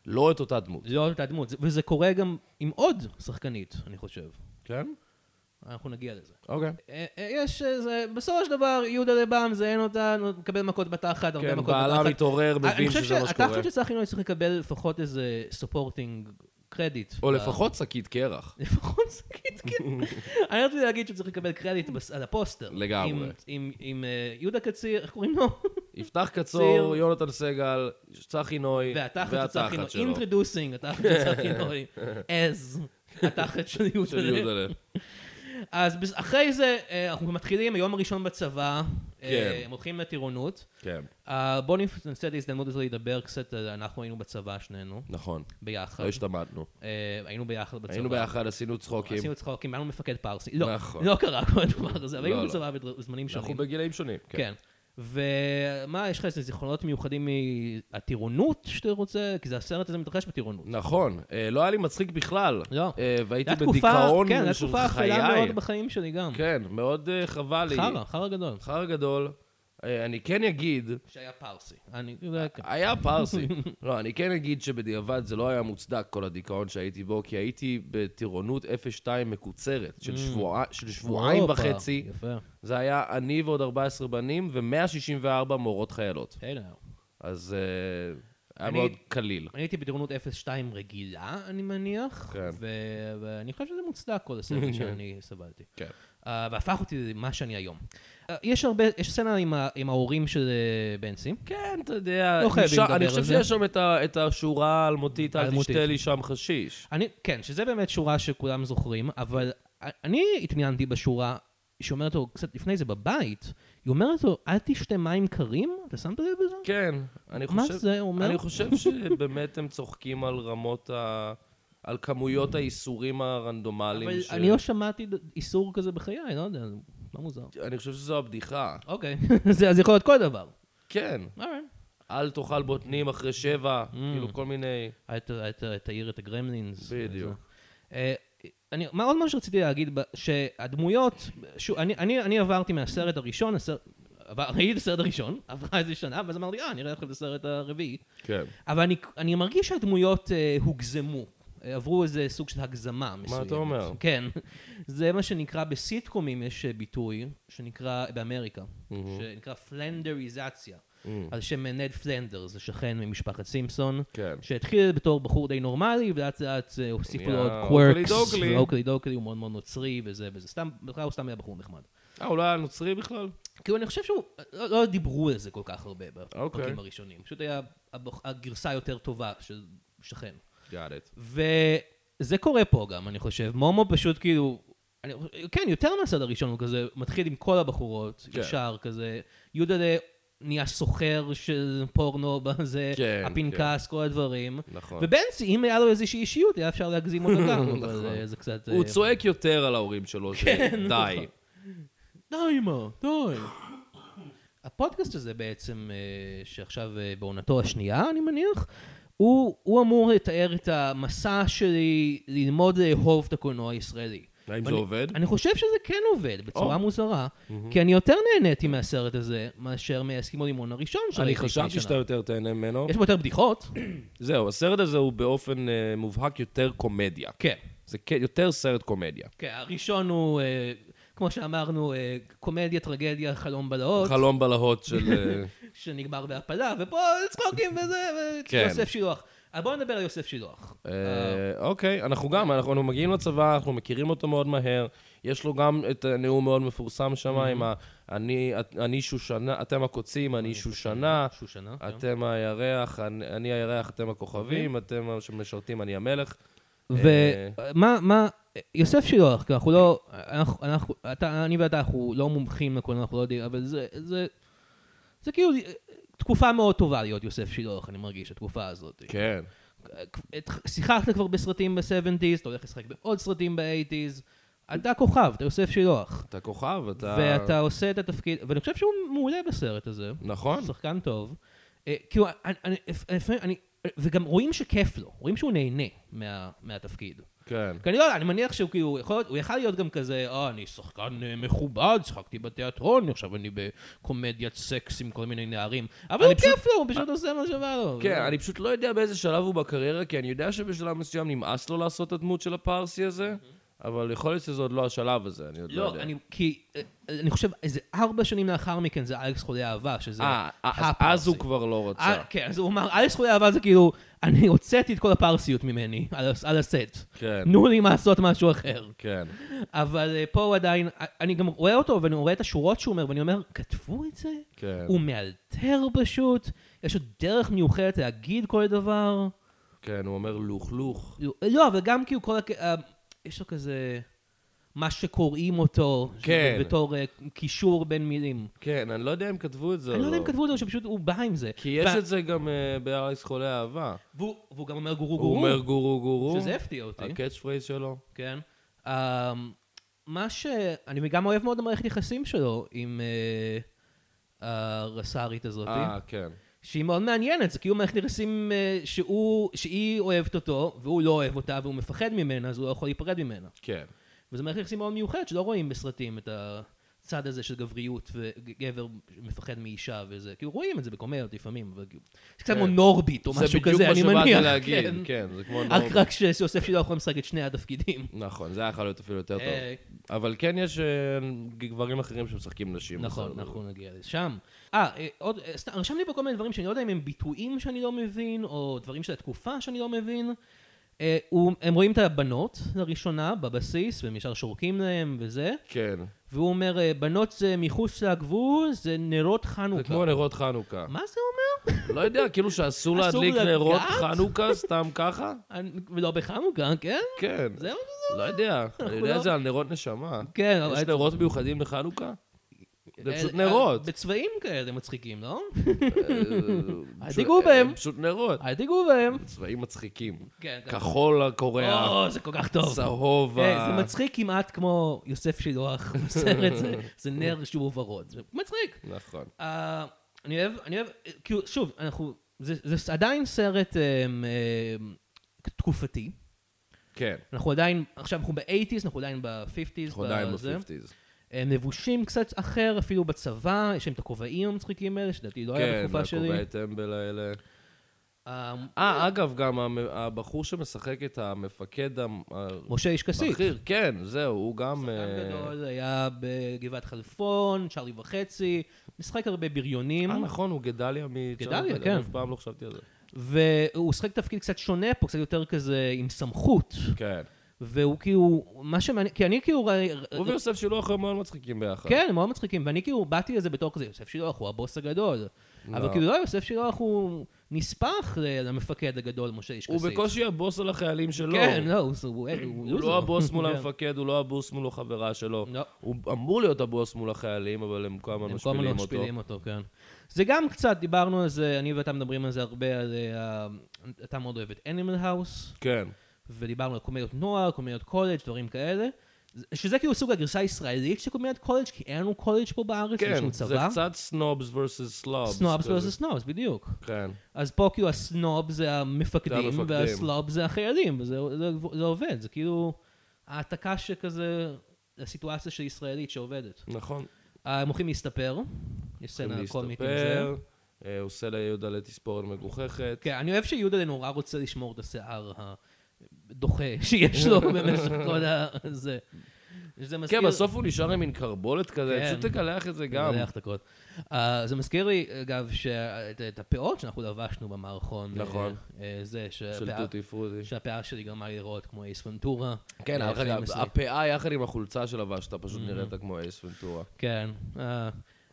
B: לא את אותה דמות.
A: לא את הדמות, וזה קורה גם עם עוד שחקנית, אני חושב.
B: כן?
A: אנחנו נגיע לזה.
B: אוקיי.
A: אה, אה, יש, אה, זה, בסופו של דבר, יהודה לבם זיין אותה, נו, מקבל מכות בתחת, הרבה
B: כן,
A: מכות בתחת. אה,
B: בעלה מתעורר,
A: אני
B: מבין
A: חושב
B: שזה מה
A: אתה
B: שקורה.
A: חושב שצחי נוי צריך לא לקבל לפחות איזה סופורטינג קרדיט.
B: או
A: ב-
B: לפחות שקית קרח.
A: לפחות שקית, כן. אני רציתי להגיד שהוא צריך לקבל קרדיט בס- על הפוסטר.
B: לגמרי.
A: עם- עם- עם אה, יהודה קציר, איך קוראים לו?
B: יפתח קצור,
A: ציר.
B: יונתן סגל, צחי נוי,
A: והתחת של צחי נוי.
B: שלו.
A: אינטרדוסינג, התחת של צחי נוי. אז, התחת של יהודה.
B: של
A: לב.
B: יהודה לב.
A: אז בס- אחרי זה, אה, אנחנו מתחילים, היום הראשון בצבא. אה,
B: כן.
A: הם הולכים לטירונות.
B: כן,
A: אה, בואו ננסה את ההזדמנות הזו לדבר קצת, אה, אנחנו היינו בצבא שנינו,
B: נכון.
A: ביחד.
B: לא השתמטנו.
A: אה, היינו ביחד בצבא.
B: היינו ביחד, עשינו צחוקים.
A: עשינו צחוקים, היה לנו מפקד פרסי. לא,
B: נכון.
A: לא קרה כל הדבר הזה, אבל
B: לא,
A: היינו
B: לא.
A: בצבא בזמנים
B: אנחנו
A: שונים.
B: בגילאים שונים. כן.
A: כן. ומה, יש לך איזה זיכרונות מיוחדים מהטירונות שאתה רוצה? כי זה הסרט הזה מתרחש בטירונות.
B: נכון. אה, לא היה לי מצחיק בכלל.
A: לא.
B: אה, והייתי
A: זה היה תקופה-
B: בדיכאון
A: כן, זו
B: של
A: תקופה אפלה
B: חיי.
A: מאוד בחיים שלי גם.
B: כן, מאוד אה, חבל לי.
A: חרא, חרא גדול.
B: חרא גדול. אה, אני כן אגיד,
A: שהיה פרסי. אני יודע, כן.
B: היה פרסי. לא, אני כן אגיד שבדיעבד זה לא היה מוצדק, כל הדיכאון שהייתי בו, כי הייתי בטירונות 02 מקוצרת, של שבוע- של שבועיים
A: Mm. הופה,
B: וחצי.
A: יפה.
B: זה היה אני ועוד 14 בנים ו-164 מורות חיילות.
A: אין היום.
B: אז אה, היה
A: אני-
B: מאוד קליל.
A: אני הייתי בטירונות 0-2 רגילה, אני מניח,
B: כן.
A: ו- ואני חושב שזה מוצדק כל הסבל שאני סבלתי.
B: כן.
A: Uh, והפך אותי למה שאני היום. Uh, יש הרבה, יש סצנה עם, ה, עם ההורים של אה, בנסי.
B: כן, אתה יודע,
A: לא חייבים
B: אפשר-
A: לדבר
B: אני
A: על
B: חושב
A: זה.
B: שיש שם את ה- את השורה האלמותית, אל
A: האלמותית.
B: תשתה לי שם חשיש.
A: אני, כן, שזה באמת שורה שכולם זוכרים, אבל א- אני התעניינתי בשורה שאומרת לו קצת לפני זה בבית, היא אומרת לו, אל תשתה מים קרים? אתה שמת לב לזה?
B: כן, אני
A: מה
B: חושב...
A: זה אומר?
B: אני חושב שבאמת הם צוחקים על רמות ה... על כמויות האיסורים הרנדומליים
A: אבל
B: ש...
A: אני לא שמעתי ד- איסור כזה בחיי, לא יודע, זה לא מוזר.
B: אני חושב שזו הבדיחה.
A: אוקיי, זה אז יכול להיות כל דבר.
B: כן,
A: אוקיי.
B: אל תאכל בוטנים אחרי שבע,
A: Mm.
B: כאילו כל מיני...
A: את- את- את העיר, את הגרמלינס.
B: בדיוק.
A: זה. אה, אני, מה עוד מה שרציתי להגיד, ב- שהדמויות, שוב, אני, אני, אני עברתי מהסרט הראשון, הסרט, עבר- ראיתי את הסרט הראשון, עברה איזה שנה, ואז אמרתי, אה, אני אראה לכם את הסרט הרביעי.
B: כן.
A: אבל אני, אני מרגיש שהדמויות אה, הוגזמו, אה, עברו איזה סוג של הגזמה מסוימת.
B: אתה אומר?
A: כן. זה מה שנקרא, בסיטקומים יש אה, ביטוי שנקרא, באמריקה, שנקרא פלנדריזציה.
B: Mm.
A: על שם אה, נד פלנדר, זה שכן ממשפחת סימפסון,
B: כן.
A: שהתחיל בתור בחור די נורמלי, ולאט לאט אה, הוסיפו לו
B: נהיה
A: עוד
B: אוקלי
A: קוורקס,
B: דוקלי.
A: ואוקלי דוקלי הוא מאוד מאוד נוצרי וזה וזה, סתם, בכלל הוא סתם היה בחור נחמד.
B: אה, הוא לא היה נוצרי בכלל?
A: כאילו, אני חושב שהוא, לא, לא דיברו על זה כל כך הרבה
B: אוקיי.
A: בפרקים הראשונים. פשוט היה הבח- הגרסה היותר טובה של שכן.
B: got it.
A: וזה קורה פה גם, אני חושב. מומו פשוט כאילו... אני, חושב- כן, יותר מהצד הראשון הוא כזה, מתחיל עם כל הבחורות,
B: כן.
A: כן. ישר כזה. יודלה נהיה סוחר של פורנו בזה,
B: כן,
A: הפנקס, כל הדברים.
B: נכון.
A: ובנצי, אם היה לו איזושהי אישיות, היה אפשר להגזים אותו גם, אבל זה- זה כן. קצת...
B: הוא
A: אה,
B: צועק יותר על ההורים שלו, זה די.
A: די, אמא, די. הפודקאסט הזה בעצם, אה, שעכשיו אה, בעונתו השנייה, אני מניח, הוא, הוא אמור לתאר את המסע שלי ללמוד לאהוב את הקולנוע הישראלי.
B: האם זה
A: ואני-
B: עובד?
A: אני חושב שזה כן עובד, בצורה
B: או.
A: מוזרה, כי אני יותר נהניתי מהסרט הזה, מאשר מהסכימו לימון הראשון
B: אני
A: שראיתי לפני שנה.
B: חשבתי שאתה יותר תהנה ממנו.
A: יש בו יותר בדיחות?
B: זהו, הסרט הזה הוא באופן אה, מובהק יותר קומדיה.
A: כן.
B: זה כן- יותר סרט קומדיה.
A: כן, הראשון הוא, אה, כמו שאמרנו, אה, קומדיה, טרגדיה, חלום בלהות.
B: חלום בלהות של... אה,
A: שנגמר בהפלה, ופה צחוקים וזה,
B: כן.
A: ויוסף שילוח. אז בואו נדבר על יוסף שילוח.
B: אה, אוקיי, אנחנו גם, אנחנו מגיעים לצבא, אנחנו מכירים אותו מאוד מהר. יש לו גם את הנאום מאוד מפורסם שם עם ה... אני- את- אני שושנה, אתם הקוצים, אני שושנה.
A: שושנה, כן.
B: אתם הירח, אני אני הירח, אתם הכוכבים, אתם שמשרתים, אני המלך.
A: כן.
B: אה,
A: ומה, מה, יוסף שילוח, כי אנחנו לא, אנחנו, אנחנו, אתה, אני ואתה, אנחנו לא מומחים לכל, אנחנו לא יודעים, אבל זה, זה, זה כאילו תקופה מאוד טובה להיות יוסף שילוח, אני מרגיש, התקופה הזאת.
B: כן.
A: את- שיחקת כבר בסרטים ב-70's, אתה הולך לשחק בעוד סרטים ב-80's, אתה כוכב, אתה יוסף שילוח.
B: אתה כוכב, אתה...
A: ואתה עושה את התפקיד, ואני חושב שהוא מעולה בסרט הזה.
B: נכון.
A: שחקן טוב. אה, כאילו, אני- אני- לפעמים, אני- וגם רואים שכיף לו, רואים שהוא נהנה מה- מהתפקיד.
B: כן.
A: כי אני לא יודע, אני מניח שהוא כאילו, יכול להיות- הוא יכל להיות גם כזה, אה, אני שחקן אה, מכובד, שחקתי בתיאטרון, עכשיו אני בקומדיית סקס עם כל מיני נערים. אבל הוא כיף לו, הוא פשוט עושה מה שבא לו.
B: כן, אני פשוט לא יודע באיזה שלב הוא בקריירה, כי אני יודע שבשלב מסוים נמאס לו לעשות את הדמות של הפרסי הזה, אבל יכול להיות שזה עוד לא השלב הזה, אני עוד לא
A: לא,
B: יודע.
A: אני, כי אה, אני חושב, איזה ארבע שנים לאחר מכן זה אלכס חולי אהבה, שזה
B: אה, אז-
A: הפרסי.
B: אז הוא כבר לא רצה.
A: אה, כן, אז הוא אמר, אלכס חולי אהבה זה כאילו, אני הוצאתי את כל הפרסיות ממני, על, הס- על הסט.
B: כן,
A: תנו לי לעשות משהו אחר.
B: כן.
A: אבל אה, פה הוא עדיין, אה, אני גם רואה אותו, ואני רואה את השורות שהוא אומר, ואני אומר, כתבו את זה?
B: כן,
A: הוא מאלתר פשוט, יש לו דרך מיוחדת להגיד כל דבר.
B: כן, הוא אומר לוכלוך.
A: לא, אבל גם כאילו כל הכ... אה, יש לו כזה... מה שקוראים אותו,
B: כן.
A: בתור אה, קישור בין מילים.
B: כן, אני לא יודע אם כתבו את זה או
A: אני
B: לא.
A: לא יודע אם כתבו אותו, שפשוט הוא בא עם זה.
B: כי יש
A: ו-
B: את זה גם אה, בארץ חולי אהבה.
A: והוא והוא גם אומר גורו
B: הוא
A: גורו,
B: אומר גורו גורו. אה,
A: שזה הפתיע אותי,
B: הקאץ' פרייז שלו.
A: כן. אה, מה ש... אני גם אוהב מאוד את המערכת יחסים שלו עם אה, הרס"רית הזאת.
B: אה, כן.
A: שהיא מאוד מעניינת, זה כאילו מערכת יחסים אה, שהוא, שהיא אוהבת אותו, והוא לא אוהב אותה, והוא מפחד ממנה, אז הוא לא יכול להיפרד ממנה.
B: כן.
A: וזו מערכת יחסים מאוד מיוחדת, שלא רואים בסרטים את הצד הזה של גבריות, וגבר מפחד מאישה וזה. כאילו רואים את זה בקומדיות לפעמים, אבל כאילו... זה קצת
B: כן.
A: כמו נורביט או משהו כזה, אני
B: זה בדיוק מה
A: מניח.
B: שבאתי להגיד,
A: כן.
B: כן, זה כמו...
A: רק
B: נורמה.
A: רק שיוסף שילה יכול לשחק את שני התפקידים.
B: נכון, זה היה יכול להיות אפילו יותר טוב.
A: אה,
B: אבל כן יש אה, גברים אחרים שמשחקים נשים.
A: נכון,
B: בסדר.
A: אנחנו נגיע לשם. אה, אה, עוד, אה, סתם, רשמתי פה כל מיני דברים שאני לא יודע אם הם ביטויים שאני לא מבין, או דברים של התקופה שאני לא מבין. אה, הוא- הם רואים את הבנות לראשונה בבסיס, והם ישר שורקים להם וזה,
B: כן.
A: והוא אומר, אה, בנות זה מחוץ לגבול, זה נרות
B: זה
A: חנוכה.
B: כמו נרות חנוכה.
A: מה זה אומר?
B: לא יודע, כאילו שאסור
A: אסור
B: להדליק נרות
A: לגעת?
B: חנוכה סתם ככה?
A: אני- ולא בחנוכה, כן?
B: כן.
A: זהו?
B: לא יודע. אני יודע
A: לא-
B: את זה על נרות נשמה.
A: כן, אבל...
B: יש נרות מיוחדים לחנוכה? זה
A: אה,
B: פשוט
A: אה,
B: נרות.
A: בצבעים כאלה מצחיקים, לא?
B: אה, פשוט- אה,
A: תיגעו בהם.
B: הם פשוט נרות.
A: אל תיגעו בהם.
B: צבעים מצחיקים.
A: כן, כן.
B: כחול הקורע,
A: או, זה כל כך טוב.
B: צהוב.
A: היי,
B: ה-
A: כן, אה, זה מצחיק כמעט כמו יוסף שילוח בסרט, זה- זה נר שהוא ורוד. זה מצחיק.
B: נכון.
A: אה, אני אוהב, אני אוהב, אה, כאילו, שוב, אנחנו, זה זה עדיין סרט אמ, אמ, תקופתי.
B: כן.
A: אנחנו עדיין, עכשיו אנחנו ב-80's, אנחנו עדיין ב-50's.
B: אנחנו עדיין
A: בזה.
B: ב-50's.
A: הם לבושים קצת אחר, אפילו בצבא, יש להם את הכובעים המצחיקים האלה, שלדעתי לא היה
B: כן,
A: בתקופה שלי.
B: הכובעי טמבל האלה.
A: אה,
B: אה, אגב, גם המ- הבחור שמשחק את המפקד המ-
A: משה איש כסיף.
B: הבכיר, כן, זהו, הוא גם...
A: שחקן
B: אה,
A: גדול, היה בגבעת חלפון, צ'ארלי וחצי, משחק הרבה בריונים.
B: אה, נכון, הוא גדליה מ...
A: גדליה,
B: אני
A: כן.
B: אף פעם לא חשבתי על זה.
A: והוא שחק תפקיד קצת שונה פה, קצת יותר כזה עם סמכות.
B: כן.
A: והוא כאילו, מה שמעניין, כי אני כאילו, ראי-
B: הוא ויוסף שילוח הם מאוד מצחיקים ביחד.
A: כן, הם מאוד מצחיקים, ואני כאילו באתי לזה בתור כזה, יוסף שילוח הוא הבוס הגדול. אבל
B: לא.
A: כאילו לא, יוסף שילוח הוא נספח ל- למפקד הגדול, משה איש
B: הוא
A: כסיף.
B: בקושי הבוס על החיילים שלו.
A: כן, לא, הוא- הוא הוא
B: הוא
A: לוזר.
B: לא הבוס מול
A: כן.
B: המפקד, הוא לא הבוס מול החברה שלו.
A: לא.
B: הוא אמור להיות הבוס מול החיילים, אבל הם כל הזמן
A: הם כל הזמן לא
B: משפילים אותו.
A: משפילים אותו, כן. זה גם קצת, דיברנו על זה, אני ואתה מדברים על זה הרבה, על... אה, אתה מאוד אוהב את Animal House.
B: כן,
A: ודיברנו על קומדיות נוער, קומדיות קולג', דברים כאלה. שזה כאילו סוג הגרסה הישראלית של קומדיית קולג', כי אין לנו קולג' פה בארץ, יש
B: כן,
A: לנו
B: זה
A: צבא.
B: קצת סנובס versus סלובס.
A: סנובס
B: כזה.
A: וזה סנובס, בדיוק.
B: כן,
A: אז פה כאילו הסנוב זה המפקדים,
B: המפקדים.
A: והסלוב זה החיילים, וזה זה- זה עובד, זה כאילו העתקה שכזה, הסיטואציה של ישראלית שעובדת.
B: נכון.
A: אה, הם הולכים להסתפר, יש סצנה קומית עם זה.
B: להסתפר, אה, עושה ליהודלה תספורת מגוחכת.
A: כן, אני אוהב שיהודה נורא רוצה לשמור את השיער הדוחה שיש לו במשך כל ה... זה. זה מזכיר...
B: כן, בסוף הוא נשאר עם מין קרבולת כזה,
A: כן.
B: פשוט תקלח את זה גם.
A: מלא החתקות. אה, זה מזכיר לי, אגב, שאת- את הפאות שאנחנו לבשנו במערכון.
B: נכון.
A: אה, אה, זה,
B: של
A: שהפאה-
B: טוטי פרוטי.
A: שהפאה שלי גרמה לי לראות כמו אייס ונטורה.
B: כן,
A: אה,
B: דרך אגב,
A: famous לי.
B: הפאה יחד עם החולצה שלבשת, פשוט נראית כמו אייס ונטורה.
A: כן. אה,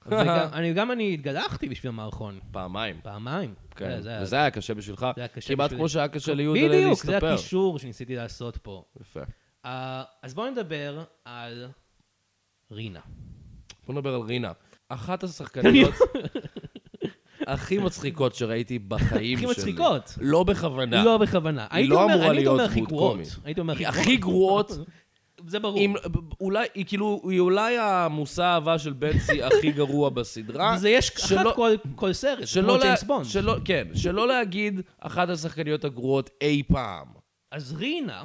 A: וגם- אני- גם אני התגלחתי בשביל המערכון,
B: פעמיים.
A: פעמיים.
B: כן,
A: זה היה-
B: וזה היה קשה בשבילך.
A: זה היה קשה
B: כמעט
A: בשבילי.
B: כמו שהיה קשה ליהודלה להסתפר.
A: בדיוק, זה הקישור שניסיתי לעשות פה.
B: יפה.
A: אה, אז בואו נדבר על רינה.
B: בוא נדבר על רינה. אחת השחקניות הכי מצחיקות שראיתי בחיים
A: הכי
B: שלי.
A: מצחיקות.
B: לא בכוונה.
A: לא בכוונה.
B: היא
A: הייתי
B: לא
A: אומר-
B: אמורה
A: הייתי אומר
B: להיות
A: הכי
B: דמות
A: גרועות.
B: קומית.
A: הייתי אומר
B: היא הכי גרועות.
A: זה ברור.
B: אם- אולי, היא כאילו, היא אולי המושא האהבה של בנצי הכי גרוע בסדרה.
A: זה יש אחת
B: שלא-
A: כל- כל סרט, זה כמו
B: שלא לה-
A: ג'יימס בונד.
B: שלא- כן, שלא להגיד אחת השחקניות הגרועות אי פעם.
A: אז רינה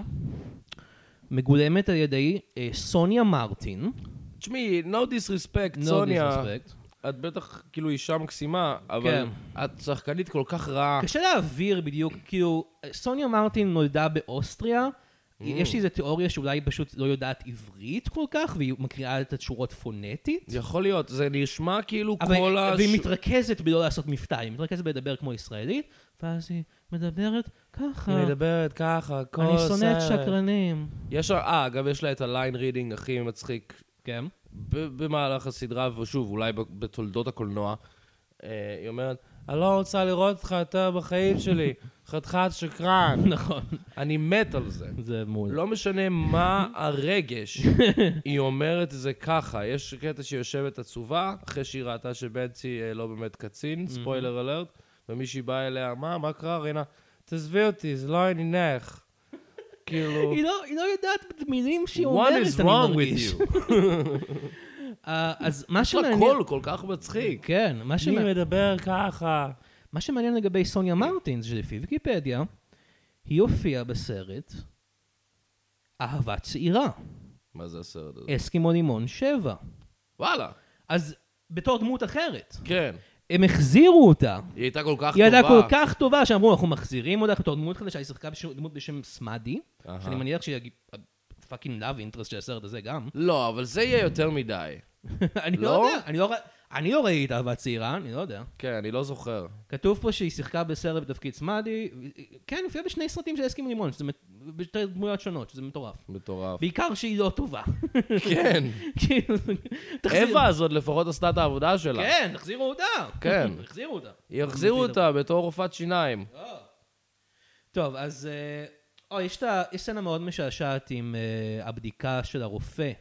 A: מגולמת על ידי אה, סוניה מרטין.
B: תשמעי, no disrespect,
A: No
B: סוניה,
A: disrespect. כן.
B: את בטח כאילו אישה מקסימה, אבל את שחקנית כל כך רעה.
A: אה, קשה להעביר בדיוק, כאילו, אה, סוניה מרטין נולדה באוסטריה,
B: Mm.
A: יש לי איזו תיאוריה שאולי היא פשוט לא יודעת עברית כל כך, והיא מקריאה את התשורות פונטית.
B: יכול להיות, זה נשמע כאילו
A: אבל
B: כל ה...
A: והיא מתרכזת בלא לעשות מבטא, היא מתרכזת בלדבר כמו ישראלית, ואז היא מדברת ככה.
B: היא מדברת ככה, כל
A: אני שונאת
B: סרט.
A: שקרנים.
B: יש... אה, גם יש לה את הליין רידינג הכי מצחיק
A: כן.
B: ב- במהלך הסדרה, ושוב, אולי ב- בתולדות הקולנוע, אה, היא אומרת, אני לא רוצה לראות אותך יותר בחיים שלי, חתיכת שקרן.
A: נכון,
B: אני מת על זה.
A: זה מול.
B: לא משנה מה הרגש, היא אומרת זה ככה. יש קטע שהיא יושבת עצובה, אחרי שהיא ראתה שבנצי אה, לא באמת קצין, ספוילר אלרט, ומישהי באה אליה, מה, מה קרה, רינה? תעזבי אותי, זה לא עניינך. כאילו,
A: היא לא- היא לא יודעת את מילים שהיא
B: what
A: אומרת,
B: is
A: אני
B: wrong
A: מרגיש.
B: with you?
A: אה, אז מה
B: יש לה
A: שמעניין...
B: קול כל כך מצחיק.
A: כן, מה שמע-
B: מדבר ככה.
A: מה שמעניין לגבי סוניה מרטין זה שלפי ויקיפדיה, היא הופיעה בסרט אהבה צעירה,
B: מה זה הסרט הזה?
A: אסקימו לימון 7.
B: וואלה,
A: אז בתור דמות אחרת,
B: כן.
A: הם החזירו אותה.
B: היא הייתה כל כך
A: היא
B: טובה.
A: הייתה כל כך טובה שאמרו, אנחנו מחזירים אותך בתור דמות חדשה, היא שיחקה בשם- דמות בשם סמאדי,
B: אהה.
A: שאני מניח שהיא פאקינג לאב אינטרס של הסרט הזה גם.
B: לא, אבל זה יהיה יותר מדי.
A: אני לא
B: לא?
A: יודע, אני לא ר- אני לא ראיתי את אהבה צעירה, אני לא יודע.
B: כן, אני לא זוכר.
A: כתוב פה שהיא שיחקה בסרט בתפקיד סמאדי, כן, הופיעה בשני סרטים של הסכימו לימון, שזה מט- בשתי דמויות שונות, שזה מטורף.
B: מטורף.
A: בעיקר שהיא לא טובה.
B: כן.
A: כאילו, תחזיר-
B: אווה הזאת לפחות עשתה את העבודה שלה.
A: כן, תחזירו אותה.
B: כן.
A: תחזירו אותה.
B: יחזירו אותה בתור רופאת שיניים.
A: לא, טוב, אז... אה, אוי, יש את ה- יש סצנה מאוד משעשעת עם אה, הבדיקה של הרופא,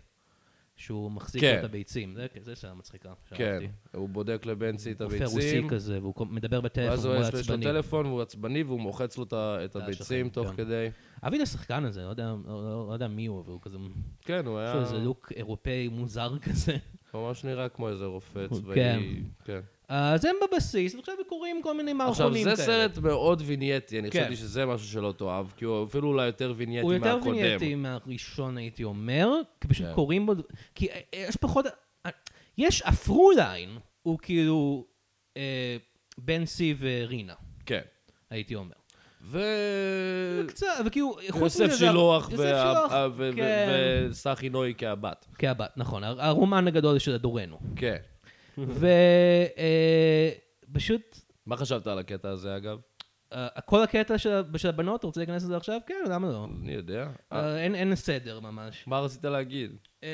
A: שהוא מחזיק לו
B: כן.
A: את הביצים. זה- זה סצנה מצחיקה.
B: כן.
A: שאהבתי.
B: הוא בודק לבנצי את
A: לא רופא רוסי
B: הביצים,
A: כזה, והוא כל- מדבר בטלפון,
B: ואז
A: הוא
B: הוא-
A: מאוד
B: יש לו
A: עצבני.
B: טלפון והוא עצבני והוא מוחץ לו את ה- את הביצים
A: השחרר,
B: תוך
A: כן.
B: כדי.
A: אהבתי את השחקן הזה, לא יודע- לא- לא לא יודע מי הוא, אבל הוא כזה...
B: כן, הוא היה
A: יש לו איזה לוק אירופאי מוזר כזה.
B: ממש נראה כמו איזה רופא
A: כן.
B: צבאי. כן.
A: אז הם בבסיס, ועכשיו קוראים כל מיני
B: עכשיו,
A: מערכונים כאלה.
B: זה סרט מאוד וינייטי, אני
A: כן.
B: חשבתי שזה משהו שלא תאהב, כי הוא אפילו אולי יותר וינייטי
A: הוא יותר
B: מהקודם.
A: וינייטי מהראשון, הייתי אומר, כי פשוט
B: כן.
A: קוראים בו... כי אה, יש פחות... אה, יש הפרוליין, הוא כאילו אה, בן סי ורינה,
B: כן.
A: הייתי אומר.
B: ו...
A: קצת, וכאילו, חוץ
B: יוסף
A: מזה... זה-
B: שילוח
A: יוסף שילוח,
B: וה- אה, ו- ו-
A: כן.
B: וסחי נוי כהבת.
A: כהבת, נכון, הר- הרומן הגדול של דורנו.
B: כן.
A: אה, ופשוט...
B: מה חשבת על הקטע הזה, אגב?
A: אה, כל הקטע של ה- של הבנות, אתה רוצה להיכנס לזה עכשיו? כן, למה לא?
B: אני יודע.
A: אה, אין- אין סדר ממש.
B: מה רצית להגיד?
A: אה,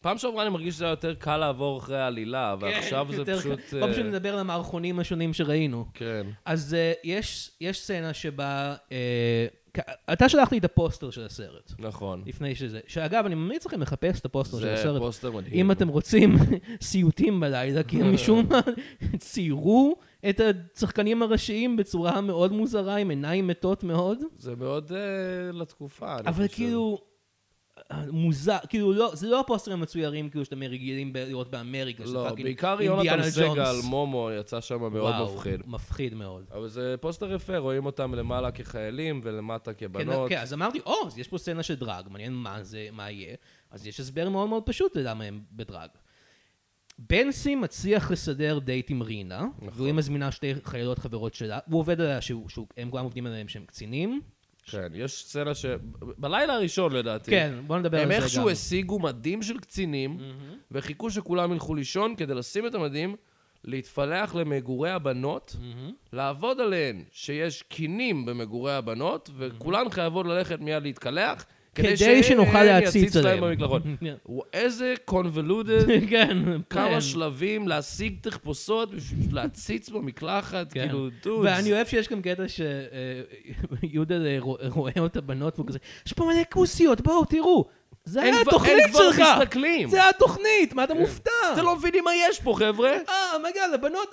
B: פעם שעברה אני מרגיש שזה היה יותר קל לעבור אחרי העלילה,
A: כן,
B: ועכשיו זה
A: יותר-
B: פשוט...
A: בוא
B: אה,
A: פשוט נדבר על המערכונים השונים שראינו.
B: כן.
A: אז אה, יש, יש סצנה שבה... אה, כ- אתה שלחת לי את הפוסטר של הסרט,
B: נכון.
A: לפני שזה. שאגב, אני ממליץ לכם לחפש את הפוסטר של
B: זה
A: הסרט.
B: פוסטר מדהים.
A: אם אתם רוצים סיוטים בלילה, כי הם משום מה ציירו את השחקנים הראשיים בצורה מאוד מוזרה, עם עיניים מתות מאוד.
B: זה מאוד אה, לתקופה, אני
A: אבל
B: חושב.
A: כאילו... אה, מוזר, כאילו לא, זה לא הפוסטרים המצוירים כאילו שאתם רגילים ב- לראות באמריקה, שזה
B: לא,
A: פאקינג
B: בעיקר
A: אינדיאנה
B: יונתן סגל,
A: ג'ונס.
B: מומו, יצא שם מאוד
A: וואו,
B: מפחיד.
A: מפחיד מאוד.
B: אבל זה פוסטר יפה, רואים אותם למעלה כחיילים ולמטה
A: כן,
B: כבנות.
A: כן, אז אמרתי, או, אז יש פה סצנה של דרג, מעניין מה זה, מה יהיה. אז יש הסבר מאוד מאוד פשוט ללמה הם בדרג. בנסי מצליח לסדר דייט עם רינה,
B: נכון.
A: והיא מזמינה שתי חיילות חברות שלה, הוא עובד עליה, שהוא- שהוא- הם כולם עובדים עליהם שהם קצינים.
B: כן, יש סצנה ש... בלילה הראשון לדעתי.
A: כן, בוא נדבר על
B: הם
A: זה גם.
B: איכשהו השיגו מדים של קצינים, וחיכו שכולם ילכו לישון כדי לשים את המדים, להתפלח למגורי הבנות, לעבוד עליהן שיש קינים במגורי הבנות, וכולן חייבות ללכת מיד להתקלח,
A: כדי
B: שהן
A: שנוכל להציץ
B: להם
A: עליהם.
B: במקלחות.
A: כן.
B: וואו, איזה convoluted,
A: כן, כן.
B: כמה שלבים להשיג תחפושות בשביל להציץ במקלחת,
A: כן.
B: כאילו, דוד.
A: ואני אוהב שיש גם קטע שיהודה רואה אותה בנות והוא כזה, יש פה מלא כוסיות, בואו, תראו. זה היה
B: הם כבר-
A: התוכנית
B: הם כבר
A: שלך.
B: מסתכלים.
A: זה היה התוכנית, מה אתה מופתע?
B: אתם לא מבינים מה יש פה, חבר'ה?
A: אה, מגל, הבנות,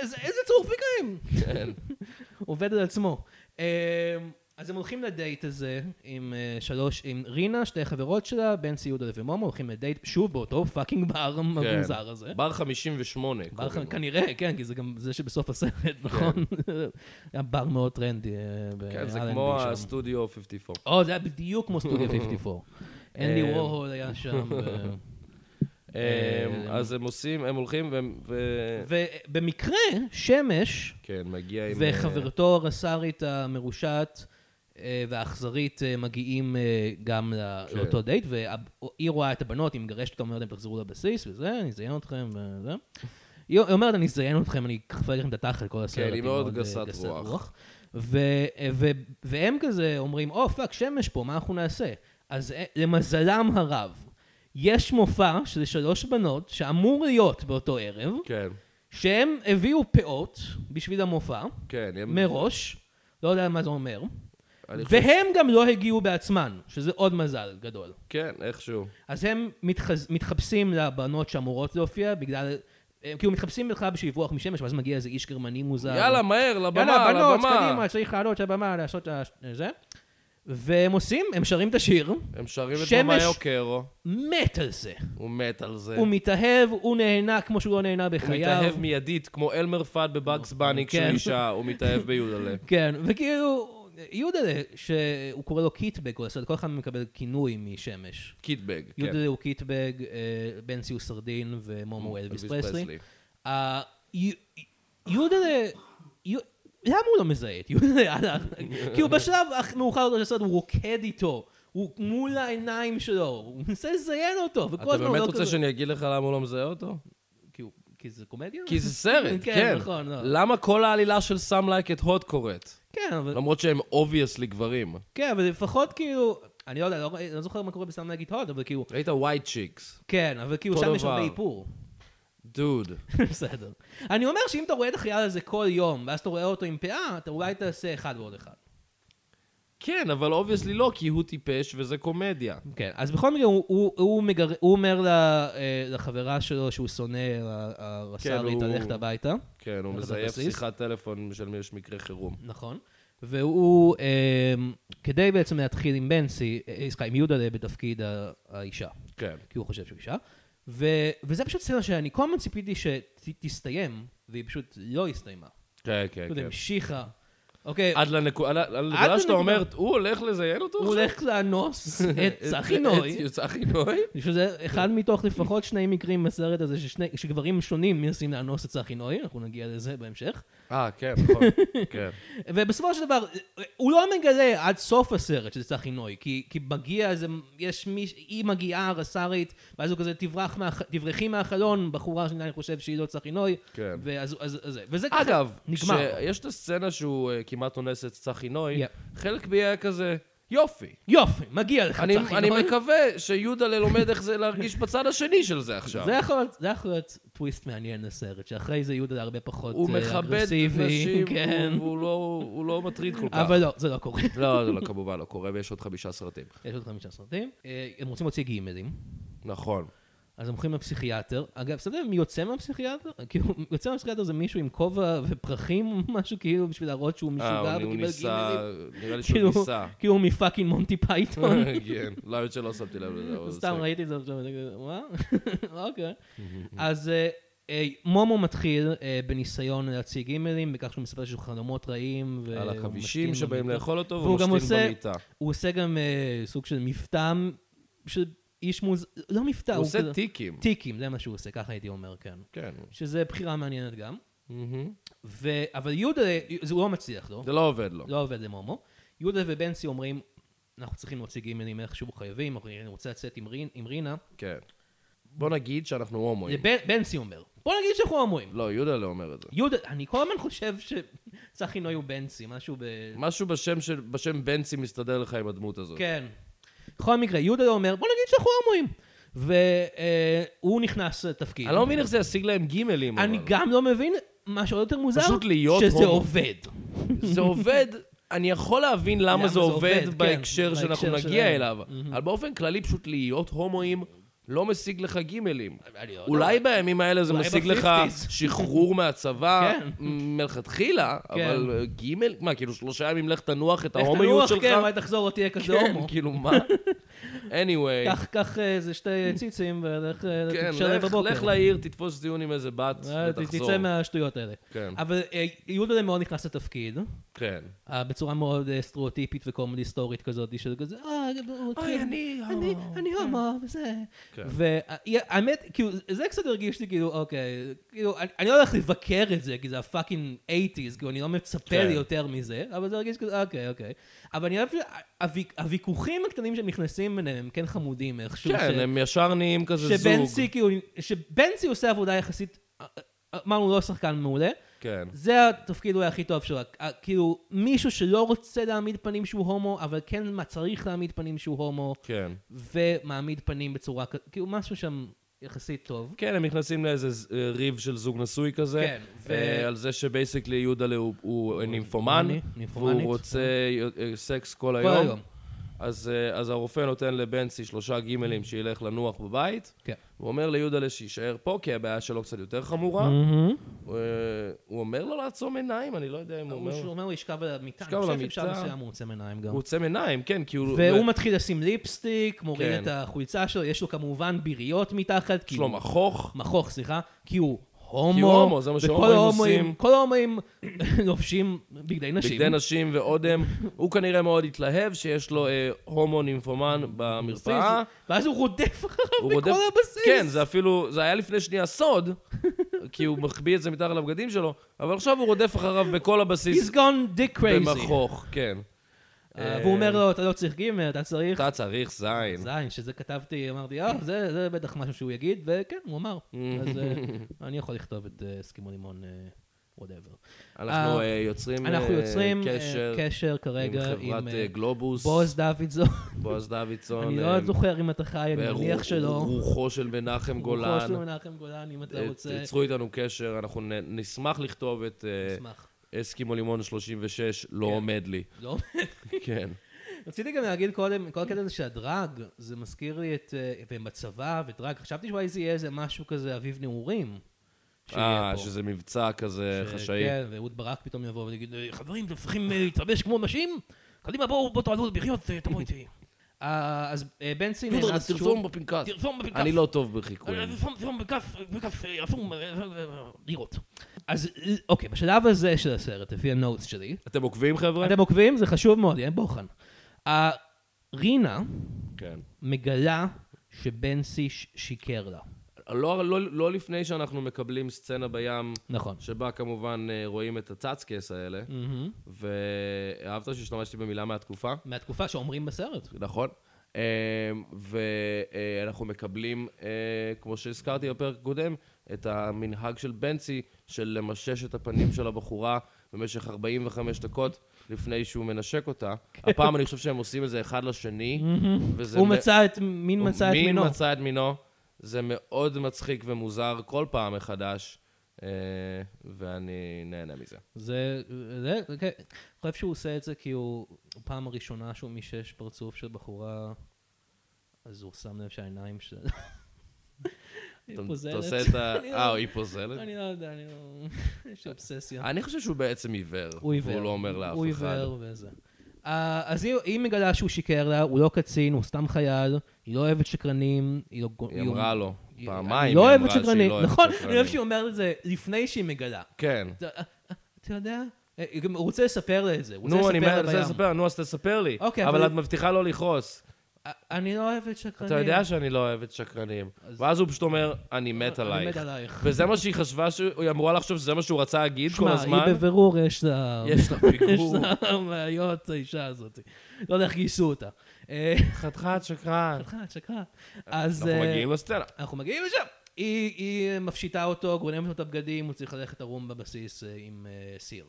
A: איזה איזה צורפיקאים.
B: כן.
A: עובד על עצמו. אמ, אז הם הולכים לדייט הזה עם אה, שלוש, עם רינה, שתי חברות שלה, בן סיודה ומומו, הולכים לדייט שוב באותו פאקינג בר
B: כן.
A: המוזר הזה.
B: בר 58.
A: בר
B: קוראים לו.
A: כנראה, כן, כי זה גם זה שבסוף הסרט, נכון? היה בר מאוד טרנדי. אה,
B: כן, זה כמו הסטודיו 54.
A: או, זה היה בדיוק כמו סטודיו 54. אנדי וורהול היה שם. ו-
B: כן.
A: אה,
B: אמ, אז הם עושים, הם הולכים והם... ו-
A: ובמקרה, שמש
B: כן, מגיע עם...
A: וחברתו הרס"רית המרושעת, אה, והאכזרית אה, מגיעים אה, גם ל-
B: כן.
A: לאותו דייט, והיא רואה את הבנות, היא מגרשת אותן, אומרת להם תחזרו לבסיס וזה, אני אזיין אתכם וזה. היא היא אומרת, אני אזיין אתכם, אני אכפה לכם את התחת כל הסרט.
B: כן, היא
A: אני
B: מאוד
A: אה,
B: גסת רוח.
A: ו- ו- והם כזה אומרים, או פאק, שמש פה, מה אנחנו נעשה? אז אה, למזלם הרב, יש מופע של שלוש בנות שאמור להיות באותו ערב,
B: כן,
A: שהם הביאו פאות בשביל המופע,
B: כן. הם-
A: מראש, לא יודע מה זה אומר,
B: אני חושב-
A: והם גם לא הגיעו בעצמן, שזה עוד מזל גדול.
B: כן, איכשהו.
A: אז הם מתחז... מתחפשים לבנות שאמורות להופיע בגלל... הם כאילו מתחפשים בכלל בשביל לברוח משמש, ואז מגיע איזה איש גרמני מוזר.
B: יאללה, מהר, לבמה,
A: יאללה, בנות,
B: לבמה.
A: קדימה, צריך לעלות לבמה, לעשות את ה- זה. והם עושים, הם שרים את השיר,
B: הם שרים את
A: שמש.
B: ממאיו קרו,
A: מת על זה.
B: הוא מת על זה.
A: הוא מתאהב, הוא נהנה כמו שהוא לא נהנה
B: הוא
A: בחייו.
B: מתאהב מיידית, כמו אלמר פאד בבאגס בני כשהוא
A: כן.
B: אישה, הוא מתאהב ביודלה.
A: כן, וכאילו, יודלה, שהוא קורא לו קיטבג, הוא עושה, כל אחד מהם מקבל כינוי משמש.
B: קיטבג, כן.
A: יודלה הוא קיטבג, אה, בנסיוס סרדין ומומו אלוויס
B: אלוויס
A: פרסלי.
B: פרסלי.
A: אה, יו- יודלה, יו- למה הוא לא מזהה את יודלה? הלאה? כאילו בשלב הכ- מאוחר יותר של הסרט הוא רוקד איתו, הוא מול העיניים שלו, הוא מנסה לזיין אותו, וכל
B: אתה
A: הזמן הוא
B: באמת
A: לא
B: רוצה שאני אגיד לך למה הוא לא מזהה אותו?
A: כאילו, כי זה קומדיה?
B: כי זה סרט, כן.
A: כן, נכון, לא.
B: למה כל העלילה של סאם לייק את הוט קורית?
A: כן, אבל...
B: למרות שהם אובייסלי גברים.
A: כן, אבל לפחות כאילו, אני לא יודע, לא, לא זוכר מה קורה בסתם להגיד הוד, אבל כאילו,
B: ראית ווייט צ'יקס.
A: כן, אבל כאילו
B: אותו
A: שם יש
B: דבר.
A: הרבה איפור.
B: דוד.
A: בסדר. אני אומר שאם אתה רואה את החייל הזה כל יום, ואז אתה רואה אותו עם פאה, אתה אולי תעשה אחד ועוד אחד.
B: כן, אבל אובייסלי לא, כי הוא טיפש וזה קומדיה.
A: כן, אז בכל מקרה, הוא, הוא, הוא, מגר... הוא אומר ל, אה, לחברה שלו שהוא שונא, ה- הרס"רית,
B: הוא-
A: ללכת הביתה.
B: כן, הוא
A: אתה
B: מזייף
A: בבסיס?
B: שיחת טלפון של מי יש מקרה חירום.
A: נכון. והוא, אה, כדי בעצם להתחיל עם בנסי, אה, סליחה, עם יהודה בתפקיד ה- האישה.
B: כן.
A: כי הוא חושב שהוא אישה. ו- וזה פשוט סצנה שאני כל הזמן ציפיתי שתסתיים, והיא פשוט לא הסתיימה.
B: כן, כן,
A: פשוט
B: כן.
A: המשיכה. אוקיי,
B: עד לנקו- על- על
A: לא עד
B: הנקודה
A: לנקודה.
B: שאתה אומר, הוא הולך לזיין אותו
A: הוא הולך לאנוס את צחי נוי.
B: צחי נוי?
A: שזה
B: כן.
A: אחד מתוך לפחות שני מקרים בסרט הזה ששני- שגברים שונים מנסים לאנוס את צחי נוי, אנחנו נגיע לזה בהמשך.
B: אה, כן, נכון. כן.
A: ובסופו של דבר, הוא לא מגלה עד סוף הסרט שזה צחי נוי, כי, כי מגיע איזה, יש מי, היא מגיעה, רס"רית, ואז הוא כזה, תברח מה, תברחי מהחלון, בחורה שאני חושב שהיא לא צחי נוי,
B: כן.
A: ואז, אז, אז, וזה ככה
B: אגב,
A: נגמר.
B: כשיש את הסצנה שהוא אה, כמעט אונס את צחי נוי,
A: יפ.
B: חלק בי היה כזה, יופי.
A: יופי, מגיע לך
B: אני,
A: צחי
B: אני
A: נוי.
B: מקווה שיהודה לומד איך זה להרגיש בצד השני של זה עכשיו.
A: זה יכול, להיות- זה יכול להיות טוויסט מעניין לסרט, שאחרי זה יהודה הרבה פחות
B: הוא
A: אה,
B: מכבד
A: אגרסיבי,
B: נשים,
A: כן.
B: הוא, הוא, לא, הוא לא מטריד כל כך.
A: אבל לא, זה לא קורה.
B: לא, זה לא, כמובן לא קורה, ויש עוד חמישה סרטים.
A: יש עוד חמישה סרטים. אה, הם רוצים להוציא גימלים.
B: נכון.
A: אז הם הולכים לפסיכיאטר. אגב, שמת לב מי יוצא מהפסיכיאטר? כאילו, יוצא מהפסיכיאטר זה מישהו עם כובע ופרחים, משהו כאילו בשביל להראות שהוא
B: אה,
A: משוגע
B: הוא- הוא
A: וקיבל
B: ניסה,
A: גימלים.
B: נראה לי
A: כאילו,
B: שהוא ניסה.
A: כאילו הוא מפאקינג מונטי פייתון.
B: כן, לא, האמת שלא שמתי לב לזה. אבל
A: סתם
B: זה-
A: ראיתי את זה עכשיו, ואני כזה, מה? אוקיי. אז אה, אה, מומו מתחיל אה, בניסיון להציג אימיילים, בכך שהוא מספר שיש לו חלומות רעים. והוא
B: על
A: משתין
B: החבישים שבאים
A: במיטה.
B: לאכול אותו,
A: והוא גם
B: והוא משתין
A: עושה-
B: במיטה.
A: הוא עושה גם אה, סוג של מבטא של איש מוז... לא מבטא,
B: הוא עושה
A: כזה-
B: טיקים.
A: טיקים, זה מה שהוא עושה, ככה הייתי אומר, כן.
B: כן.
A: שזה בחירה מעניינת גם.
B: מהמם.
A: ו... אבל יהודה, זה הוא לא מצליח לו,
B: זה לא עובד לו.
A: לא עובד למומו. יהודה ובנצי אומרים, אנחנו צריכים להוציא גימלים איכשהו חייבים, אבל אני רוצה לצאת עם, רין, עם רינה.
B: כן. בוא נגיד שאנחנו הומואים.
A: לבן- בנצי אומר, בוא נגיד שאנחנו הומואים.
B: לא, יהודה לא אומר את זה.
A: יהודה, אני כל הזמן חושב שצחי נוי הוא בנצי, משהו ב...
B: משהו בשם של- בשם בנצי מסתדר לך עם הדמות הזאת.
A: כן. בכל מקרה, יהודה לא אומר, בוא נגיד שאנחנו הומואים. והוא אה, נכנס לתפקיד.
B: אני לא מבין איך זה ישיג להם גימלים.
A: אני
B: אבל.
A: גם לא מבין, מה שעוד יותר מוזר,
B: פשוט להיות
A: שזה
B: הומו.
A: עובד.
B: זה עובד, אני יכול להבין למה זה עובד כן, בהקשר
A: בהקשר
B: Mm-hmm. שאנחנו נגיע
A: שלהם.
B: אליו. אבל באופן כללי, פשוט להיות הומואים לא משיג לך גימלים.
A: אני לא יודע.
B: אולי בימים האלה זה
A: אולי
B: משיג לך
A: ב-50s.
B: שחרור מהצבא
A: כן.
B: מלכתחילה, אבל אה, גימל, מה, כאילו שלושה ימים לך תנוח כן, את
A: לך
B: ההומיות
A: תנוח,
B: שלך?
A: כן, אולי תחזור, עוד תהיה כזה
B: כן,
A: הומו.
B: כאילו מה? anyway,
A: קח, קח אה, איזה שתי ציצים ולך אה,
B: כן,
A: תקשר להם
B: לך-
A: בבוקר.
B: לך לעיר, תתפוס דיון עם איזה בת
A: אה, ת-
B: ותחזור.
A: תצא מהשטויות האלה.
B: כן,
A: אבל אה, יהודה מאוד נכנס לתפקיד,
B: כן.
A: אה, בצורה מאוד אה, סטריאוטיפית וקומדי סטורית כזאת, של כזה, אה, הוא התחיל-
B: אני
A: אני, אני הומו, וזה.
B: כן.
A: והאמת, כאילו, זה קצת הרגיש לי כאילו, אוקיי, כאילו, אני, אני לא הולך לבקר את זה, כי זה הפאקינג 80's, כאילו, אני לא מצפה
B: כן.
A: לי יותר מזה, אבל זה הרגיש כאילו, אוקיי, אוקיי. אבל אני אוהב שהוויכוחים הקטנים שהם נכנסים ביניהם הם כן חמודים איכשהו.
B: כן, הם ישר נהיים כזה זוג.
A: שבנצי, כאילו, שבנצי עושה עבודה יחסית, אמרנו, הוא לא שחקן מעולה.
B: כן.
A: זה התפקיד אולי הכי טוב שלו, אה, כאילו מישהו שלא רוצה להעמיד פנים שהוא הומו, אבל כן מה- צריך להעמיד פנים שהוא הומו.
B: כן.
A: ומעמיד פנים בצורה כ... כאילו משהו שם יחסית טוב.
B: כן, הם נכנסים לאיזה ז- אה, ריב של זוג נשוי כזה.
A: כן, ו-
B: אה, על זה שבייסיקלי יהודלה הוא- הוא נימפומן,
A: נימפומני,
B: והוא
A: נימפומנית.
B: רוצה אה, אה, סקס כל
A: כל
B: היום.
A: היום.
B: אז אה, אז הרופא נותן לבנצי שלושה גימלים שילך לנוח בבית.
A: כן.
B: הוא אומר ליהודלה שיישאר פה, כי הבעיה שלו קצת יותר חמורה.
A: Mm.
B: הוא, אה, הוא אומר לו לעצום עיניים, אני לא יודע אם הוא
A: הוא
B: אומר...
A: שהוא אומר הוא ישכב על המיטה,
B: ישכב
A: אני
B: על
A: חושב שבשלב
B: המיטה.
A: מסוים הוא עוצם עיניים גם.
B: הוא עוצם עיניים, כן, כי הוא...
A: והוא מתחיל לשים ליפסטיק, מוריד
B: כן.
A: את החולצה שלו, יש לו כמובן ביריות מתחת, כי
B: יש לו
A: הוא...
B: מכוך.
A: מכוך, סליחה, כי הוא
B: כי הוא
A: הומו,
B: הומו, זה מה
A: וכל
B: שהומואים
A: ההומואים-
B: עושים.
A: כל ההומואים לובשים בגדי נשים.
B: בגדי נשים ואודם. הוא כנראה מאוד התלהב שיש לו אה, הומו נימפומן במרפאה.
A: ואז הוא רודף
B: הוא
A: אחריו
B: רודף-
A: בכל הבסיס.
B: כן, זה אפילו, זה היה לפני שנייה סוד, כי הוא מחביא את זה מתחת לבגדים שלו, אבל עכשיו הוא רודף אחריו בכל הבסיס
A: He's gone dick crazy.
B: במכוך, כן.
A: אה, והוא אומר לו, אתה לא צריך גימל, אתה צריך
B: אתה צריך זין.
A: זין, שזה כתבתי, אמרתי, אה, זה, זה בטח משהו שהוא יגיד, וכן, הוא אמר. אז אה, אני יכול לכתוב את אה, סכימו לימון, וואטאבר.
B: אנחנו אה, יוצרים
A: אנחנו
B: אה,
A: יוצרים אה,
B: קשר
A: קשר כרגע
B: עם
A: עם
B: חברת
A: אה,
B: אה, גלובוס,
A: בועז דוידזון.
B: בועז דוידסון,
A: אני
B: אה,
A: לא זוכר אם אתה חי, אני מניח
B: ורוח-
A: שלא.
B: רוחו של מנחם
A: רוחו
B: גולן.
A: של מנחם גולן, אם אתה
B: אה,
A: רוצה.
B: יצרו איתנו קשר, אנחנו נ- נשמח לכתוב את אה,
A: אשמח.
B: אסקימו לימון 36, לא עומד לי.
A: לא?
B: כן.
A: רציתי גם להגיד קודם, כל הקטע הזה של הדרג, זה מזכיר לי את... אה, והם בצבא, ודרג, חשבתי שאולי זה יהיה איזה משהו כזה אביב נעורים. שיהיה
B: אה,
A: פה.
B: שזה מבצע כזה
A: ש-
B: חשאי.
A: כן, ואהוד ברק פתאום יבוא ויגיד, "אה, חברים, אתם צריכים אה, להתלבש כמו נשים? קדימה, בואו, בואו תעלו לבחיות, אה, תבואו איתי. אה, אז אה, בנצי נאנס שוב.
B: בפנקס.
A: תרזום בכף.
B: אני לא טוב בחיקויים.
A: אה, תרזום- תרזום בכף, אה, בכף, אה, אפום, אה, אה, אה, לירות. אז אה, אוקיי, בשלב הזה של הסרט, לפי הנוטס שלי,
B: אתם עוקבים, חבר'ה?
A: אתם עוקבים? זה חשוב מאוד, אין בוחן. אה, רינה
B: כן.
A: מגלה שבנצי ש- שיקר לה.
B: לא- לא לא לפני שאנחנו מקבלים סצנה בים,
A: נכון.
B: שבה כמובן אה, רואים את הצצקס האלה,
A: מהמם.
B: ואהבת שהשתמשתי במילה מהתקופה?
A: מהתקופה שאומרים בסרט.
B: נכון. אמ, ואנחנו מקבלים, אה, כמו שהזכרתי בפרק הקודם, את המנהג של בנצי של למשש את הפנים של הבחורה במשך 45 דקות לפני שהוא מנשק אותה. הפעם אני חושב שהם עושים את זה אחד לשני, וזה...
A: כן. הוא
B: מא-
A: מצא את, מין מצא את
B: מין
A: מינו.
B: מצא את מינו. זה מאוד מצחיק ומוזר כל פעם מחדש, אה, ואני נהנה מזה.
A: זה, זה, זה, כן. אני חושב שהוא עושה את זה כי הוא, פעם הראשונה שהוא מישש פרצוף של בחורה, אז הוא שם לב שהעיניים של... היא
B: אתה-
A: פוזלת.
B: אתה עושה את ה...
A: אני לא-
B: אה, היא פוזלת?
A: אני לא יודע, אני לא... יש לי אובססיה.
B: אני חושב שהוא בעצם עיוור.
A: הוא עיוור.
B: אה, והוא לא אומר לאף אחד.
A: הוא עיוור וזה. אה, אז היא, היא מגלה שהוא שיקר לה, הוא לא קצין, הוא סתם חייל, היא לא אוהבת שקרנים, היא לא...
B: היא אמרה לו,
A: היא-
B: פעמיים
A: אני
B: היא
A: לא
B: אמרה
A: אוהבת
B: שהיא
A: שקרנים,
B: לא אוהבת
A: נכון?
B: שקרנים.
A: אני אוהב שהיא אומרת את זה לפני שהיא מגלה.
B: כן.
A: אתה אה, אתה יודע? אה, גם הוא רוצה לספר לה את זה, הוא רוצה
B: נו, אני
A: לספר לה
B: מנסה
A: בים.
B: לספר, נו, אז תספר לי.
A: אוקיי,
B: אבל
A: אבל-
B: את מבטיחה לא לכעוס.
A: אה, אני לא אוהבת שקרנים.
B: אתה יודע שאני לא אוהבת שקרנים. ואז הוא פשוט אומר, אני מת
A: אה, אני
B: עלייך.
A: מת עלייך.
B: וזה מה שהיא חשבה, שהוא- היא אמורה לחשוב שזה מה שהוא רצה להגיד כל
A: שמע,
B: הזמן.
A: היא בבירור יש לה...
B: יש לה
A: יש
B: פיגור.
A: לה בעיות, האישה הזאת. לא יודע איך גייסו אותה. אה,
B: חתיכת שקרן.
A: שקרן, שקרן. אז...
B: אנחנו
A: אה,
B: מגיעים לסצנה.
A: אנחנו מגיעים לשם. היא, היא מפשיטה אותו, גונבת לו את הבגדים, הוא צריך ללכת ערום בבסיס אה, עם אה, סיר.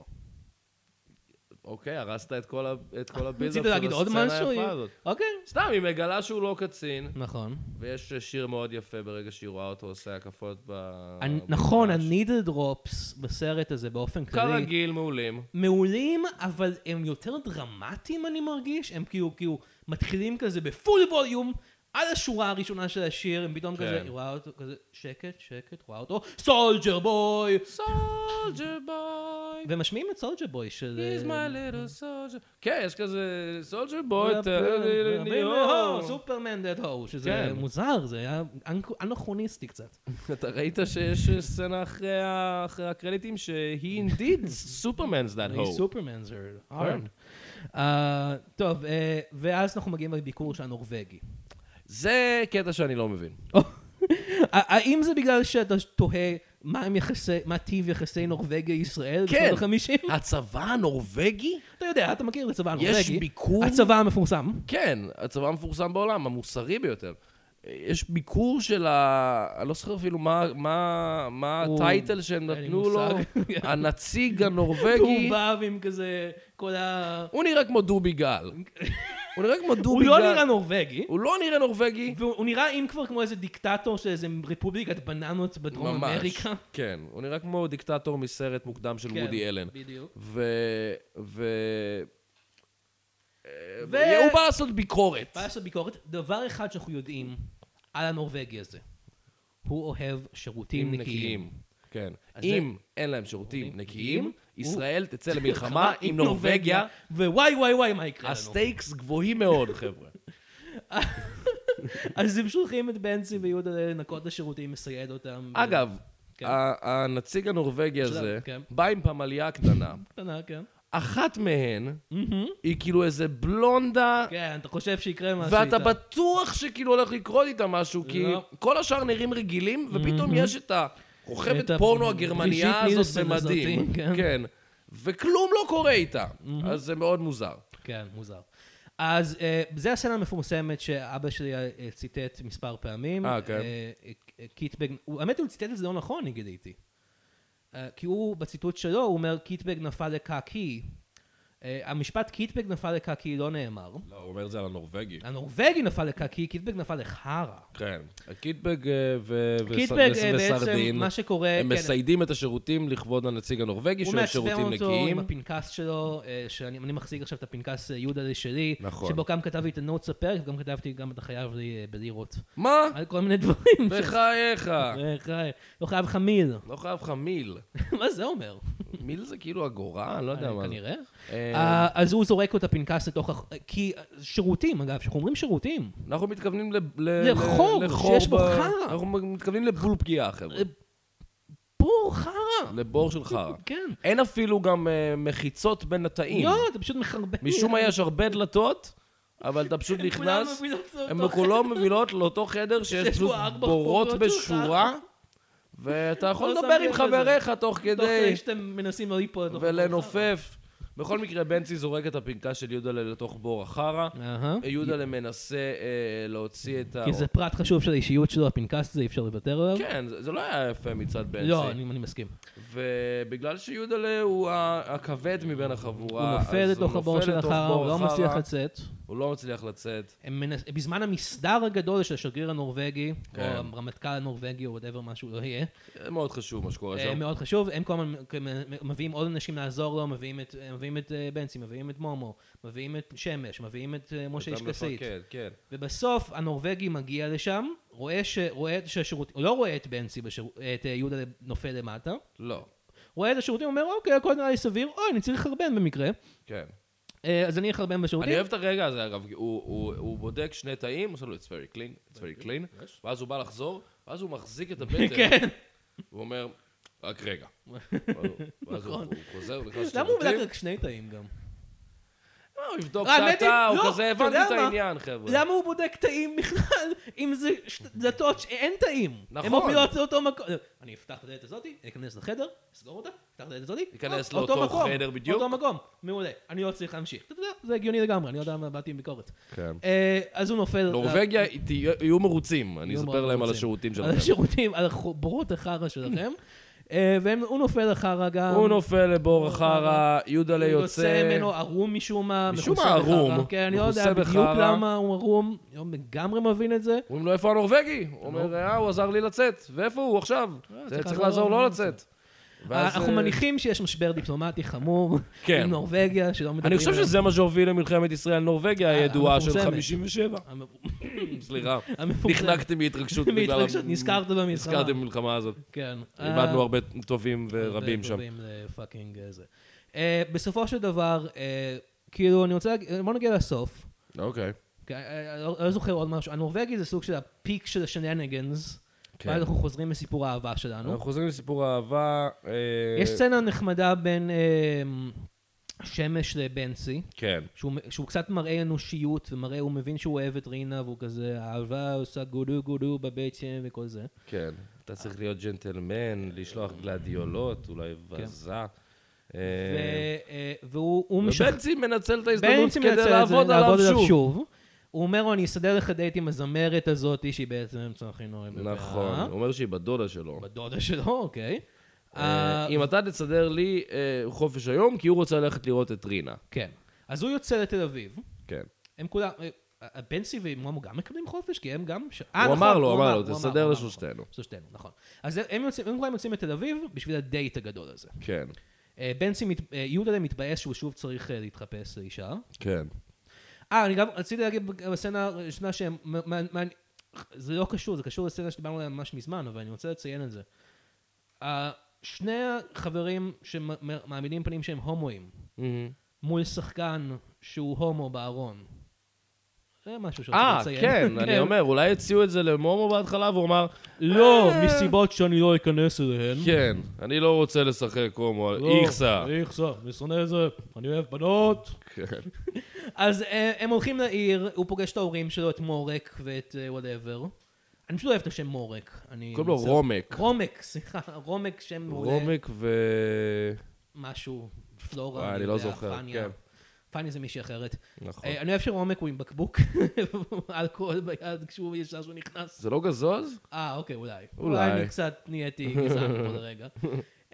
B: אוקיי, הרסת את כל ה- את כל הבילדאפ
A: רצית
B: של
A: להגיד עוד
B: הסצנה
A: משהו?
B: היפה הזאת.
A: אוקיי.
B: סתם, היא מגלה שהוא לא קצין,
A: נכון.
B: ויש שיר מאוד יפה ברגע שהיא רואה אותו עושה הקפות ב...
A: אני- נכון,
B: במגרש.
A: הנידל דרופס בסרט הזה באופן כללי.
B: כרגיל מעולים.
A: מעולים, אבל הם יותר דרמטיים, אני מרגיש. הם כאילו, כאילו, מתחילים כזה בפול ווליום, על השורה הראשונה של השיר, הם פתאום
B: כן.
A: כזה, היא רואה אותו כזה, שקט, שקט, רואה אותו, סולג'ר בוי!
B: סולג'ר בוי.
A: ומשמיעים את סולג'ה בוי של... אה,
B: He's my little soldier. כן, יש כזה סולג'ר בוי,
A: oh, סופרמן דד הו, שזה
B: כן.
A: מוזר, זה היה אנק- אנכרוניסטי קצת.
B: אתה ראית שיש סצנה אחרי ה- אחרי הקרדיטים שהיא אינדיד סופרמנס דאט
A: He's
B: הו.
A: Superman, זה hard. אה, טוב, אה, ואז אנחנו מגיעים לביקור של הנורבגי.
B: זה קטע שאני לא מבין.
A: האם זה בגלל שאתה תוהה מה הם יחסי, מה טיב יחסי נורבגיה ישראל
B: כן.
A: בשנות החמישים?
B: הצבא הנורבגי?
A: אתה יודע, אתה מכיר את הצבא
B: יש
A: הנורבגי.
B: ביקור?
A: הצבא המפורסם.
B: כן, הצבא המפורסם בעולם, המוסרי ביותר. יש ביקור של ה... אני לא זוכר אפילו מה, מה, מה
A: הוא-
B: הטייטל שהם
A: אין לי
B: נתנו לו,
A: מושג.
B: הנציג
A: הוא
B: הנורבגי.
A: בא ועם כזה, כל ה...
B: הוא נראה כמו דובי גל. הוא נראה כמו
A: הוא
B: דובי גל.
A: לא נראה נורבגי.
B: הוא לא נראה נורבגי.
A: והוא הוא נראה אם כבר כמו איזה דיקטטור של איזה רפובליקת בננות בדרום
B: ממש.
A: אמריקה.
B: כן, הוא נראה כמו דיקטטור מסרט מוקדם של
A: כן,
B: וודי אלן.
A: בדיוק.
B: ו... ו...
A: ו-
B: אה, הוא בא לעשות ביקורת.
A: בא לעשות ביקורת. דבר אחד שאנחנו יודעים על הנורבגי הזה, הוא אוהב שירותים נקיים.
B: כן.
A: אז אוקיי.
B: אם אין להם שירותים נקיים,
A: נקיים,
B: ישראל תצא למלחמה עם נורבגיה.
A: ווואי וואי וואי מה יקרה לנו.
B: הסטייקס גבוהים מאוד, חבר'ה.
A: אז הם שולחים את בנצי ויהודה לנקות לשירותים, מסייד אותם. ו-
B: אגב,
A: כן.
B: ה- הנציג הנורבגי הזה
A: כן.
B: בא עם פמליה קטנה.
A: קטנה, כן.
B: אחת מהן היא כאילו איזה בלונדה,
A: כן, אתה חושב שיקרה משהו
B: ואתה
A: איתה.
B: בטוח שכאילו הולך לקרות איתה משהו, כי
A: לא.
B: כל השאר נראים רגילים, ופתאום יש את הכוכבת
A: את ה-
B: פורנו
A: ראשית
B: הגרמניה הזאת
A: נילסון
B: במדים.
A: הזאת, כן.
B: כן. וכלום לא קורה איתה. אז זה מאוד מוזר.
A: כן, מוזר. אז אה, זה הסצנה המפורסמת שאבא שלי אה, ציטט מספר פעמים.
B: אה, כן.
A: אה, אה, קיטבג, הוא- האמת הוא ציטט את זה לא נכון, אני גיליתי. אה, כי הוא, בציטוט שלו, הוא אומר, קיטבג נפל לקקי. אה, המשפט קיטבג נפל לקקי לא נאמר.
B: לא, הוא אומר את זה על הנורבגי.
A: הנורבגי נפל לקקי, קיטבג נפל לחרא.
B: כן. הקיטבג אה, ו- וס-
A: קיטבג,
B: וס-
A: אה, בעצם,
B: וסרדין,
A: מה שקורה,
B: הם
A: כן.
B: מסיידים את השירותים לכבוד הנציג הנורבגי,
A: הוא
B: שהוא
A: מעצבן
B: שירותים
A: אותו עם
B: נקיים.
A: הפנקס שלו, אה, שאני אני מחזיק עכשיו את הפנקס אה, יהודה לי שלי,
B: נכון.
A: שבו גם כתבתי את הנוטס הפרק, וגם כתבתי גם אתה חייב לי אה, בלירות.
B: מה?
A: על כל מיני דברים.
B: בחייך.
A: איך, אה, לא חייב לך מיל.
B: לא חייב לך מיל.
A: מה זה אומר?
B: מיל זה כאילו אגורה? אני לא יודע מה זה.
A: כנראה.
B: אה,
A: אה, אז הוא זורק לו את הפנקס לתוך... הח- כי אה, שירותים, אגב, כשאנחנו אומרים שירותים,
B: אנחנו מתכוונים ל- ל-
A: לחור,
B: ל-
A: שיש בו חרא.
B: אנחנו מתכוונים לבול פגיעה, חבר'ה.
A: בור חרא.
B: לבור של חרא.
A: כן.
B: אין אפילו גם אה, מחיצות בין התאים.
A: לא, אתה פשוט מחרבן.
B: משום מה יש הרבה דלתות, אבל אתה פשוט
A: הם כולם
B: נכנס,
A: מבינות אותו
B: הן
A: חדר.
B: כולן מובילות לאותו חדר שיש
A: שיש
B: פשוט
A: בו ארבע
B: בורות
A: חורות של
B: בשורה, ואתה יכול
A: לא
B: לדבר
A: שם
B: עם
A: לב
B: חבריך תוך
A: תוך
B: כדי
A: כדי שאתם מנסים לא ליפול לתוך
B: ולנופף. בכל מקרה, בנצי זורק את הפנקה של יודלה לתוך בור החרא.
A: בור חרא. אהה.
B: יודלה מנסה אה, להוציא את ה...
A: כי זה פרט חשוב של האישיות שלו, הפנקס הזה, אי אפשר לוותר עליו.
B: כן, זה זה לא היה יפה מצד בנצי.
A: לא, אני אני מסכים.
B: ובגלל שיודלה הוא ה- הכבד מבין
A: הוא
B: החבורה,
A: נופל
B: אז
A: לתוך
B: הוא
A: הבור
B: נופל
A: של
B: לתוך
A: החרא,
B: בור
A: הוא לא
B: החרא,
A: מצליח לצאת.
B: הוא לא מצליח לצאת.
A: הם מנס... בזמן המסדר הגדול של השגריר הנורבגי,
B: כן.
A: או הרמטכ"ל הנורבגי, או וואטאבר מה שהוא לא יהיה,
B: זה מאוד חשוב מה שקורה
A: אה,
B: שם.
A: מאוד חשוב, הם כל הזמן מ- מביאים עוד אנשים לעזור לו, מביאים את, מביאים את אה, בנצי, מביאים את מומו, מביאים את שמש, מביאים את אה, משה איש
B: אתה
A: כסית.
B: מפקד, כן.
A: ובסוף הנורבגי מגיע לשם, רואה, ש... רואה את שהשירות... הוא לא רואה את בנצי, בשיר... את אה, יהודה נופל למטה,
B: לא,
A: רואה את השירותים, אומר, אוקיי, הכל נראה לי סביר, אוי, אני צריך לחרבן במקרה,
B: כן.
A: אה, אז אני אחרבן
B: אני
A: בשירותים.
B: אוהב את הרגע הזה, אגב, כי הוא- הוא הוא בודק שני תאים, הוא עושה לו it's very clean, it's very clean, ואז הוא בא לחזור, ואז הוא מחזיק את הבטן,
A: אוקיי. כן,
B: הוא אומר, רק רגע. ואז הוא- ואז הוא הוא חוזר, הוא נכנס
A: נכון. למה הוא בדק
B: לשירותים,
A: רק שני תאים גם?
B: אה, הוא יבדוק
A: האמת
B: את התא,
A: היא-
B: הוא
A: לא,
B: כזה,
A: אתה
B: הבנתי
A: יודע
B: את
A: מה?
B: העניין, חבר'ה.
A: למה הוא בודק תאים בכלל, אם זה ש- דלתות שאין תאים?
B: נכון.
A: הם מובילות לאותו מקום. אני אפתח את הדלת הזאתי, אכנס לחדר, אסגור אותה, אפתח את הדלת הזאתי.
B: אכנס
A: הופ,
B: לאותו
A: מקום,
B: חדר בדיוק.
A: אותו מקום, מעולה. אני לא צריך להמשיך. אתה יודע, זה הגיוני לגמרי, אני לא יודע מה באתי עם ביקורת.
B: כן.
A: אה, אז הוא נופל...
B: נורבגיה, תהיה- יהיו מרוצים, אני
A: לא. יהיו
B: אספר
A: מאוד
B: להם על
A: מרוצים.
B: השירותים
A: על
B: שלכם.
A: השירותים, על החוברות החרא שלכם. אה, והוא נופל לחרא גם.
B: הוא נופל לבור החרא, יודלה
A: נכון. הוא יוצא
B: לא יוצא,
A: ממנו ערום משום מה.
B: משום
A: מכוסה
B: מה ערום.
A: בחרא. כן, אני לא
B: מכוסה אה?
A: יודע בדיוק
B: בחרא.
A: למה הוא ערום. אני לא לגמרי מבין את זה.
B: אומרים לו, איפה הנורבגי? הוא אומר, אה, הוא עזר לי לצאת. ואיפה הוא עכשיו? זה
A: אה, צריך
B: צריך
A: לעזור
B: לעזור
A: לו
B: לו
A: לצאת.
B: לצאת. ואז,
A: אנחנו
B: אה,
A: מניחים שיש משבר דיפלומטי חמור
B: כן.
A: עם נורבגיה, שלא מדברים
B: אני חושב
A: עליו. אה,
B: שזה מה שהוביל למלחמת ישראל-נורבגיה הידועה של
A: המפורסמת.
B: 57. סליחה,
A: המפורסם.
B: נחנקתי מהתרגשות. בגלל
A: מהתרגשות,
B: המ-
A: נזכרת במלחמה.
B: נזכרתי במלחמה הזאת.
A: כן.
B: איבדנו
A: אה,
B: הרבה טובים ורבים שם.
A: טובים לפאקינג אה, זה. אה, בסופו של דבר, אה, כאילו, אני רוצה, להג- בוא נגיע לסוף.
B: אוקיי.
A: כי אני- אני לא- אני לא זוכר עוד משהו. הנורבגי זה סוג של הפיק של השנניגנס.
B: כן. נכון.
A: ואז אנחנו חוזרים לסיפור האהבה שלנו.
B: אנחנו חוזרים לסיפור האהבה. אה,
A: יש סצנה נחמדה בין אה, שמש לבנסי.
B: כן.
A: שהוא, שהוא קצת מראה אנושיות, ומראה, הוא מבין שהוא אוהב את רינה, והוא כזה, אהבה עושה גודו גודו בבטן וכל זה.
B: כן. אתה צריך להיות ג'נטלמן, לשלוח גלדיולות, אולי
A: כן.
B: וזה.
A: ו,
B: אה,
A: אה, והוא הוא משכנע,
B: ובנצי מנצל את ההזדמנות
A: בנצי מנצל
B: כדי
A: את זה,
B: לעבוד עליו שוב.
A: שוב. הוא אומר לו, אני אסדר לך דייט עם הזמרת הזאת, שהיא בעצם אמצע הכי נורא. בבעיה."
B: נכון, הוא אומר שהיא בדודה שלו.
A: בדודה שלו, אוקיי.
B: אה,
A: אה,
B: אם אתה תסדר לי אה, חופש היום, כי הוא רוצה ללכת לראות את רינה.
A: כן. אז הוא יוצא לתל אביב,
B: כן.
A: הם כולם, אה, אה, בנסי ומומו גם מקבלים חופש? כי הם גם... ש- אה,
B: הוא
A: נכון,
B: אמר לו, אמר לו,
A: הוא אמר,
B: תסדר
A: הוא אמר,
B: לשלושתנו.
A: נכון. שלושתנו, נכון. אז הם יוצאים, הם כולם יוצאים לתל אביב בשביל הדייט הגדול הזה.
B: כן.
A: אה, בנסי, מת- אה, יהודלה מתבאס שהוא שוב צריך אה, להתחפש לאישה.
B: כן.
A: אה, אני גם רציתי להגיד בג- בסצנה הראשונה שהם... מ- מ- מ- זה לא קשור, זה קשור לסצנה שדיברנו עליה ממש מזמן, אבל אני רוצה לציין את זה. אה, שני החברים שמעמידים פנים שהם הומואים, Mm-hmm. מול שחקן שהוא הומו בארון. זה משהו שרציתי
B: אה,
A: לציין.
B: כן, אני אומר, אולי הציעו את זה למומו בהתחלה, והוא אמר,
A: לא,
B: אה,
A: מסיבות שאני לא אכנס אליהן.
B: כן, אני לא רוצה לשחק הומו,
A: לא,
B: כן, איכסה.
A: איכסה, אני שונא את זה, אני אוהב בנות.
B: כן.
A: אז אה, הם הולכים לעיר, הוא פוגש את ההורים שלו, את מורק ואת וואטאבר. אני פשוט אוהב את השם מורק. אני
B: קוראים לו
A: מצטער.
B: רומק.
A: רומק, סליחה, רומק שם מעולה.
B: רומק ו...
A: משהו, פלורה,
B: וואי, אני
A: יודע,
B: לא זוכר,
A: פניה.
B: כן.
A: פניה זה מישהי אחרת.
B: נכון.
A: אה, אני אוהב שרומק הוא עם בקבוק, אלכוהול ביד כשהוא ישר שהוא נכנס.
B: זה לא גזוז?
A: אה, אוקיי, אולי.
B: אולי.
A: אולי אני קצת נהייתי גזען פה לרגע.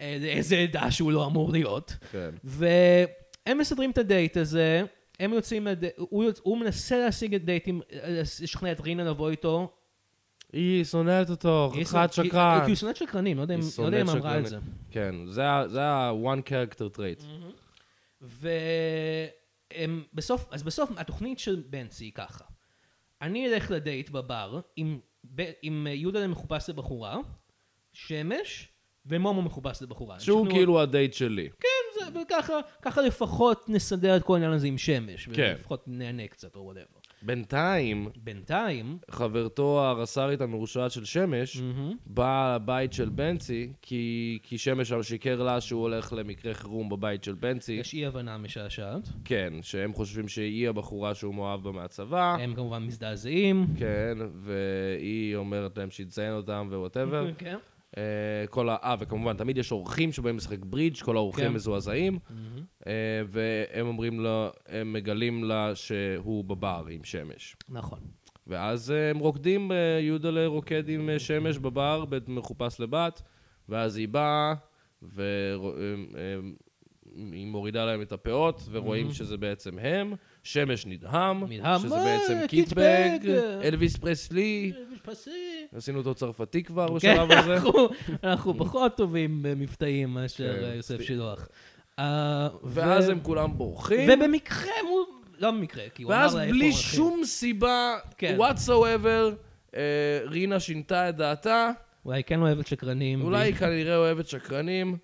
A: אה, זה- איזה עדה שהוא לא אמור להיות.
B: כן.
A: והם מסדרים את הדייט הזה, הם יוצאים, לד... הוא, יוצ... הוא מנסה להשיג את דייט עם, לשכנע את רינה לבוא איתו.
B: היא שונאת אותו, חתיכת
A: כי-
B: שקרן.
A: כי הוא שונאת שקרנים, לא יודע אם
B: היא
A: לא יודע אם
B: שונאת
A: אמרה את זה. Mm-hmm.
B: שקרנית. כן, זה ה- זה ה-one character trait.
A: והם בסוף, אז בסוף התוכנית של בנצי היא ככה. אני אלך לדייט בבר עם, ב, עם אה, יהודה מחופש לבחורה, שמש, ומומו מחופש לבחורה.
B: שהוא
A: שכנעו-
B: כאילו הדייט שלי.
A: כן, זה, וככה ככה לפחות נסדר את כל העניין הזה עם שמש.
B: כן.
A: ולפחות נהנה קצת או וואטאבר.
B: בינתיים,
A: בינתיים,
B: חברתו הרס"רית המרושעת של שמש, באה לבית של בנצי, כי כי שמש שיקר לה שהוא הולך למקרה חירום בבית של בנצי.
A: יש אי הבנה משעשעת.
B: כן, שהם חושבים שהיא הבחורה שהוא מאוהב בה מהצבא.
A: הם כמובן מזדעזעים.
B: אה. כן, והיא אומרת להם שהיא תציין אותם ווואטאבר.
A: כן.
B: אה, כל ה... אה, וכמובן, תמיד יש אורחים שבאים לשחק ברידג', כל האורחים
A: כן.
B: מזועזעים, אה, והם אומרים לה, הם מגלים לה שהוא בבר עם שמש.
A: נכון.
B: ואז אה, הם רוקדים, אה, יהודלה רוקד עם אה, שמש בבר, בית מחופש לבת, ואז היא באה, והיא מורידה להם את הפאות, ורואים שזה בעצם הם. שמש נדהם,
A: Mm-hmm. נדהם,
B: שזה
A: אה,
B: בעצם
A: קיטבג.
B: קיטבג, אלוויס פרסלי, עשינו אותו צרפתי כבר
A: כן,
B: בשלב הזה.
A: אנחנו- אנחנו פחות טובים במבטאים מאשר אה, יוסף שילוח. אה, ו-
B: כן, ואז הם כולם בורחים,
A: ובמקרה הוא... לא במקרה, כי הוא אמר לה
B: ואז
A: איפה
B: בלי
A: הולכים.
B: שום סיבה,
A: כן.
B: whatsoever, אה, רינה שינתה את דעתה,
A: אולי היא כן אוהבת שקרנים.
B: אולי
A: והיא-
B: היא כנראה אוהבת שקרנים,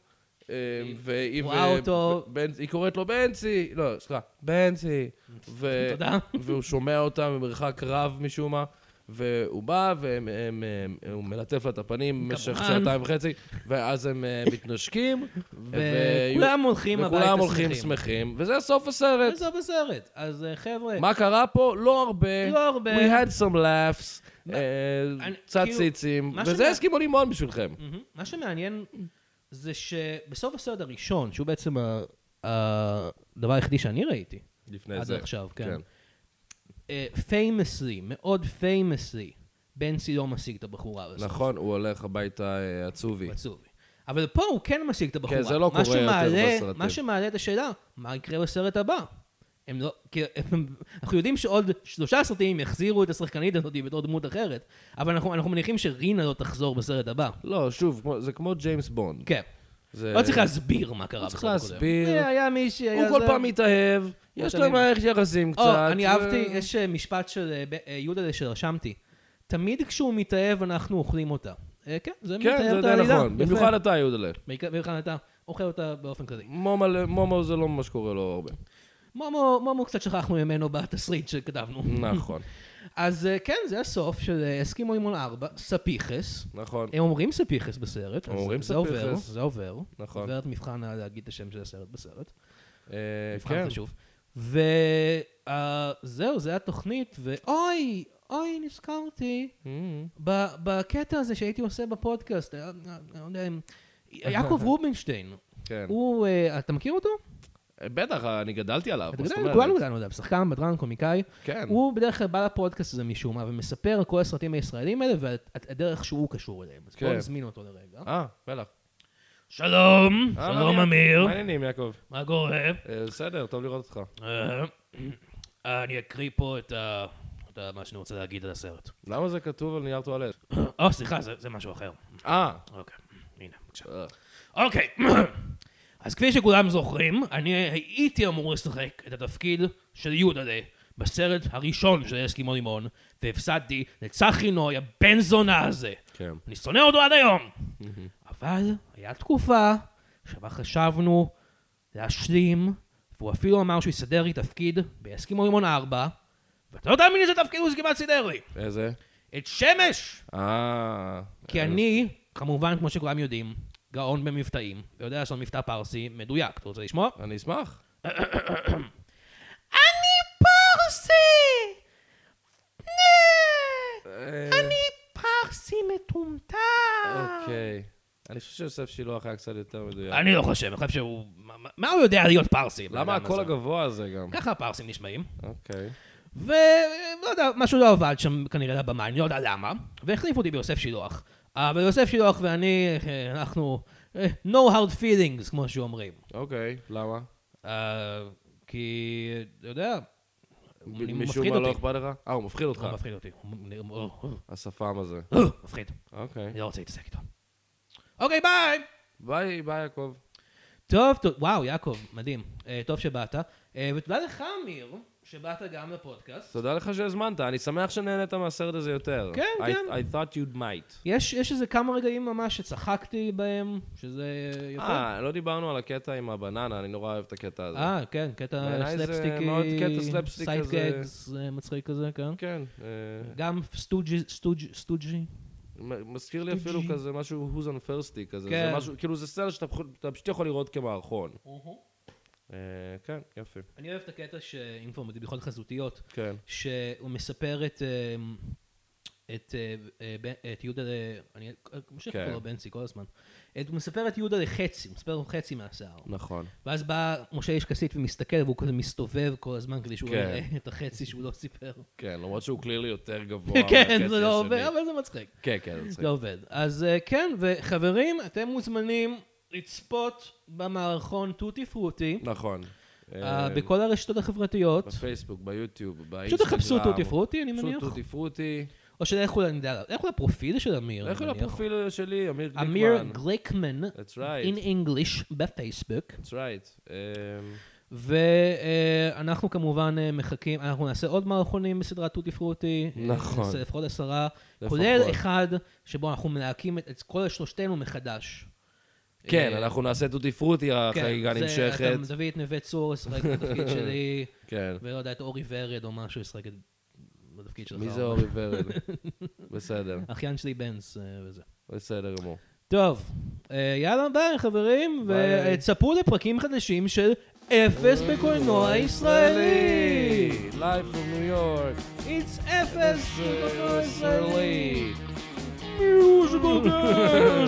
B: אה, והיא...
A: רואה
B: ו-
A: אותו.
B: בנ- היא קוראת לו בנצי, לא, סליחה, בנצי. ו-
A: תודה.
B: והוא שומע אותה במרחק רב משום מה. והוא בא, והוא מלטף לה את הפנים במשך
A: כמובן.
B: שעתיים וחצי, ואז הם אה, מתנשקים,
A: וכולם הולכים הביתה
B: וכולם הולכים
A: שמחים.
B: שמחים, וזה סוף הסרט.
A: עזוב הסרט. אז אה, חבר'ה,
B: מה קרה פה? לא הרבה.
A: לא הרבה.
B: We had some laughs, אה,
A: אני-
B: קצת
A: כאילו,
B: ציצים,
A: מה
B: וזה
A: שאני-
B: הסכימו לימון בשבילכם.
A: מהמם. מה שמעניין זה שבסוף הסרט הראשון, שהוא בעצם ה- הדבר היחידי שאני ראיתי
B: לפני
A: עד
B: זה.
A: עכשיו, כן.
B: כן.
A: פיימסלי, מאוד פיימסלי, בנסי לא משיג את הבחורה הזאת.
B: נכון, הוא הולך הביתה אה, עצובי.
A: עצובי. אבל פה הוא כן משיג את הבחורה.
B: כן, זה לא
A: מה
B: קורה יותר
A: שמעלה-
B: בסרטים.
A: מה שמעלה את השאלה, מה יקרה בסרט הבא? הם לא, כי הם, אנחנו יודעים שעוד שלושה סרטים יחזירו את השחקנית הזאת בתור דמות אחרת, אבל אנחנו, אנחנו מניחים שרינה לא תחזור בסרט הבא.
B: לא, שוב, כמו- זה כמו ג'יימס בונד.
A: כן.
B: זה-
A: לא צריך להסביר מה קרה
B: לא צריך
A: בסרט הקודם.
B: להסביר.
A: אה, היה מישהי, היה
B: הוא כל
A: זה.
B: פעם מתאהב, יש להם מערכת יחסים קצת.
A: או, אני
B: ו-
A: אהבתי, יש אה, משפט של אה, ב- אה, יהודה הזה שרשמתי. תמיד כשהוא מתאהב, אנחנו אוכלים אותה. אה, כן, זה מתאר
B: כן,
A: את
B: זה די
A: העלילה. יפה.
B: נכון. במיוחד אתה, יהודלה.
A: בעיקר- במיוחד אתה אוכל אותה באופן כללי.
B: מומו- מומו זה לא ממש קורה לו הרבה.
A: מומו, מומו קצת שכחנו ממנו בתסריט שכתבנו.
B: נכון,
A: אז אה, כן, זה הסוף של אה, אסקימו לימון 4, ספיחס.
B: נכון.
A: הם אומרים ספיחס בסרט. אז
B: אומרים
A: זה עובר,
B: ספיחס.
A: זה עובר.
B: נכון.
A: עובר את מבחן ה- להגיד את השם של הסרט בסרט.
B: אה, כן.
A: מבחן חשוב. וזהו, זה התוכנית, ואוי, אוי, נזכרתי.
B: אה,
A: ב- בקטע הזה שהייתי עושה בפודקאסט, אה, אה, לא יודע אם- יעקב רובינשטיין,
B: כן.
A: הוא, אה, אתה מכיר אותו?
B: אה, בטח, אני גדלתי עליו.
A: אתה
B: מה
A: יודע,
B: זאת אומרת?
A: כולנו גדלנו עליו, שחקן, בדרן, קומיקאי.
B: כן.
A: הוא בדרך כלל בא לפודקאסט הזה משום מה, ומספר על כל הסרטים הישראלים האלה ועל הת- הדרך שהוא קשור אליהם. אז בואו
B: כן.
A: נזמין אותו לרגע.
B: אה, בטח.
A: שלום,
B: אה,
A: שלום
B: מה העניינים?
A: אמיר,
B: מה העניינים, יעקב?
A: מה קורה?
B: אה, בסדר, טוב לראות אותך.
A: אה, אה, אני אקריא פה את ה- את ה- מה שאני רוצה להגיד על הסרט.
B: למה זה כתוב על נייר טואלט?
A: או, סליחה, זה זה משהו אחר.
B: אה,
A: אוקיי, הנה, בבקשה.
B: אה,
A: אוקיי, אז כפי שכולם זוכרים, אני הייתי אמור לשחק את התפקיד של יודלה בסרט הראשון של אסקימו לימון, והפסדתי לצחי נוי הבן זונה הזה.
B: כן.
A: אני שונא אותו עד היום. אבל היה תקופה שבה חשבנו להשלים, והוא אפילו אמר שהוא יסדר לי תפקיד באסקימו לימון 4, ואתה לא תאמין איזה תפקיד הוא כמעט סידר לי.
B: איזה?
A: את שמש!
B: אה.
A: כי אני, כמובן, כמו שכולם יודעים, גאון במבטאים, ויודע לעשות מבטא פרסי מדויק. אתה רוצה לשמוע?
B: אני אשמח.
A: אני פרסי!
B: אה,
A: פרסי מטומטם!
B: אוקיי. אני חושב שיוסף שילוח היה קצת יותר מדויק.
A: אני לא חושב, אני חושב שהוא... מה- מה- מה הוא יודע להיות פרסי?
B: כן. למה
A: בן אדם
B: הקול
A: הזה?
B: הגבוה הזה גם?
A: ככה הפרסים נשמעים.
B: אוקיי.
A: ולא יודע, משהו לא עבד שם כנראה לבמה, אני לא יודע למה, והחליפו אותי ביוסף שילוח. אבל יוסף שילוח ואני, אה, אנחנו... אה, no hard feelings, כמו שאומרים.
B: אוקיי, למה?
A: אה, כי, אתה יודע, הוא
B: ב- משום
A: מפחיד
B: מה לא
A: אותי.
B: אכפת לך? אה, הוא מפחיד אותך.
A: הוא מפחיד אותי. הוא מ- הוא- הוא-
B: השפם הזה.
A: הוא- מפחיד.
B: אוקיי.
A: אני לא רוצה להתעסק איתו. אוקיי, ביי!
B: ביי, ביי, יעקב.
A: טוב, טוב, וואו, יעקב, מדהים. אה, טוב שבאת. אה, ותודה לך, אמיר, שבאת גם לפודקאסט.
B: תודה לך שהזמנת, אני שמח שנהנית מהסרט הזה יותר.
A: כן,
B: I-
A: כן.
B: I thought you'd might.
A: יש יש איזה כמה רגעים ממש שצחקתי בהם, שזה יפה.
B: אה, לא דיברנו על הקטע עם הבננה, אני נורא אוהב את הקטע הזה.
A: אה, כן, קטע
B: בעיניי זה
A: סלפסטיקי,
B: מאוד קטע סלפסטיק
A: סייד
B: כזה.
A: גגס, אה, מצחיק כזה, כן.
B: כן, אה,
A: גם סטוג'י, סטוג'י, סטוג'י.
B: מ- מזכיר לי אפילו
A: PG.
B: כזה משהו who's on thirsty כזה.
A: כן.
B: זה משהו, כאילו זה סרט שאתה פחות- אתה פשוט יכול לראות כמערכון. אה, כן, יופי.
A: אני אוהב את הקטע שאם כבר מדביקות חזותיות,
B: כן.
A: שהוא מספר את, אמ, את, אה, אה, בן- את יהודה, ל- אני ממשיך
B: כן.
A: לקרוא לו בנצי כל הזמן, את- הוא מספר את יהודה לחצי, הוא מספר לו חצי מהשיער.
B: נכון.
A: ואז בא משה איש כסית ומסתכל והוא כזה מסתובב כל הזמן כדי שהוא לא
B: כן.
A: יראה את החצי שהוא לא סיפר.
B: כן, למרות שהוא כליל יותר גבוה.
A: כן,
B: מהקטע
A: זה לא
B: השני.
A: עובד, אבל זה מצחיק.
B: כן, כן, זה
A: זה
B: מצחיק.
A: עובד. אז אה, כן, וחברים, אתם מוזמנים לצפות במערכון טוטי פרוטי,
B: נכון.
A: אה,
B: אה,
A: בכל הרשתות החברתיות.
B: בפייסבוק, ביוטיוב, באינסטגרם.
A: פשוט תחפשו טוטי פרוטי, אני
B: פשוט
A: מניח.
B: טוטי פרוטי.
A: או שלכו לנדל, לכו לפרופיל של אמיר.
B: לכו
A: אני מניח.
B: לפרופיל שלי, אמיר גליקמן.
A: אמיר גליקמן,
B: That's right.
A: in English, בפייסבוק.
B: That's right. אמ,
A: ואנחנו כמובן אה, מחכים, אנחנו נעשה עוד מערכונים בסדרת טוטי פרוטי. אה,
B: נכון.
A: נעשה לפחות עשרה,
B: לפחות.
A: כולל אחד שבו אנחנו מלהקים את- את כל שלושתנו מחדש.
B: כן,
A: אה,
B: אנחנו נעשה טוטי פרוטי,
A: כן,
B: החגיגה
A: זה-
B: נמשכת.
A: אתה מביא את נווה צור, ישחק בתפקיד שלי,
B: כן.
A: ולא יודע, את אורי ורד או משהו ישחק את- בתפקיד שלך.
B: מי זה
A: או-
B: אורי ורד? בסדר,
A: אחיין שלי בנס אה, וזה.
B: בסדר גמור.
A: טוב, אה, יאללה ביי חברים,
B: ביי.
A: וצפו לפרקים חדשים של אפס בקולנוע ישראלי!
B: Live from New York.
A: It's אפס בקולנוע ישראלי!
B: ישראלי.
A: מיוזיקל דיי!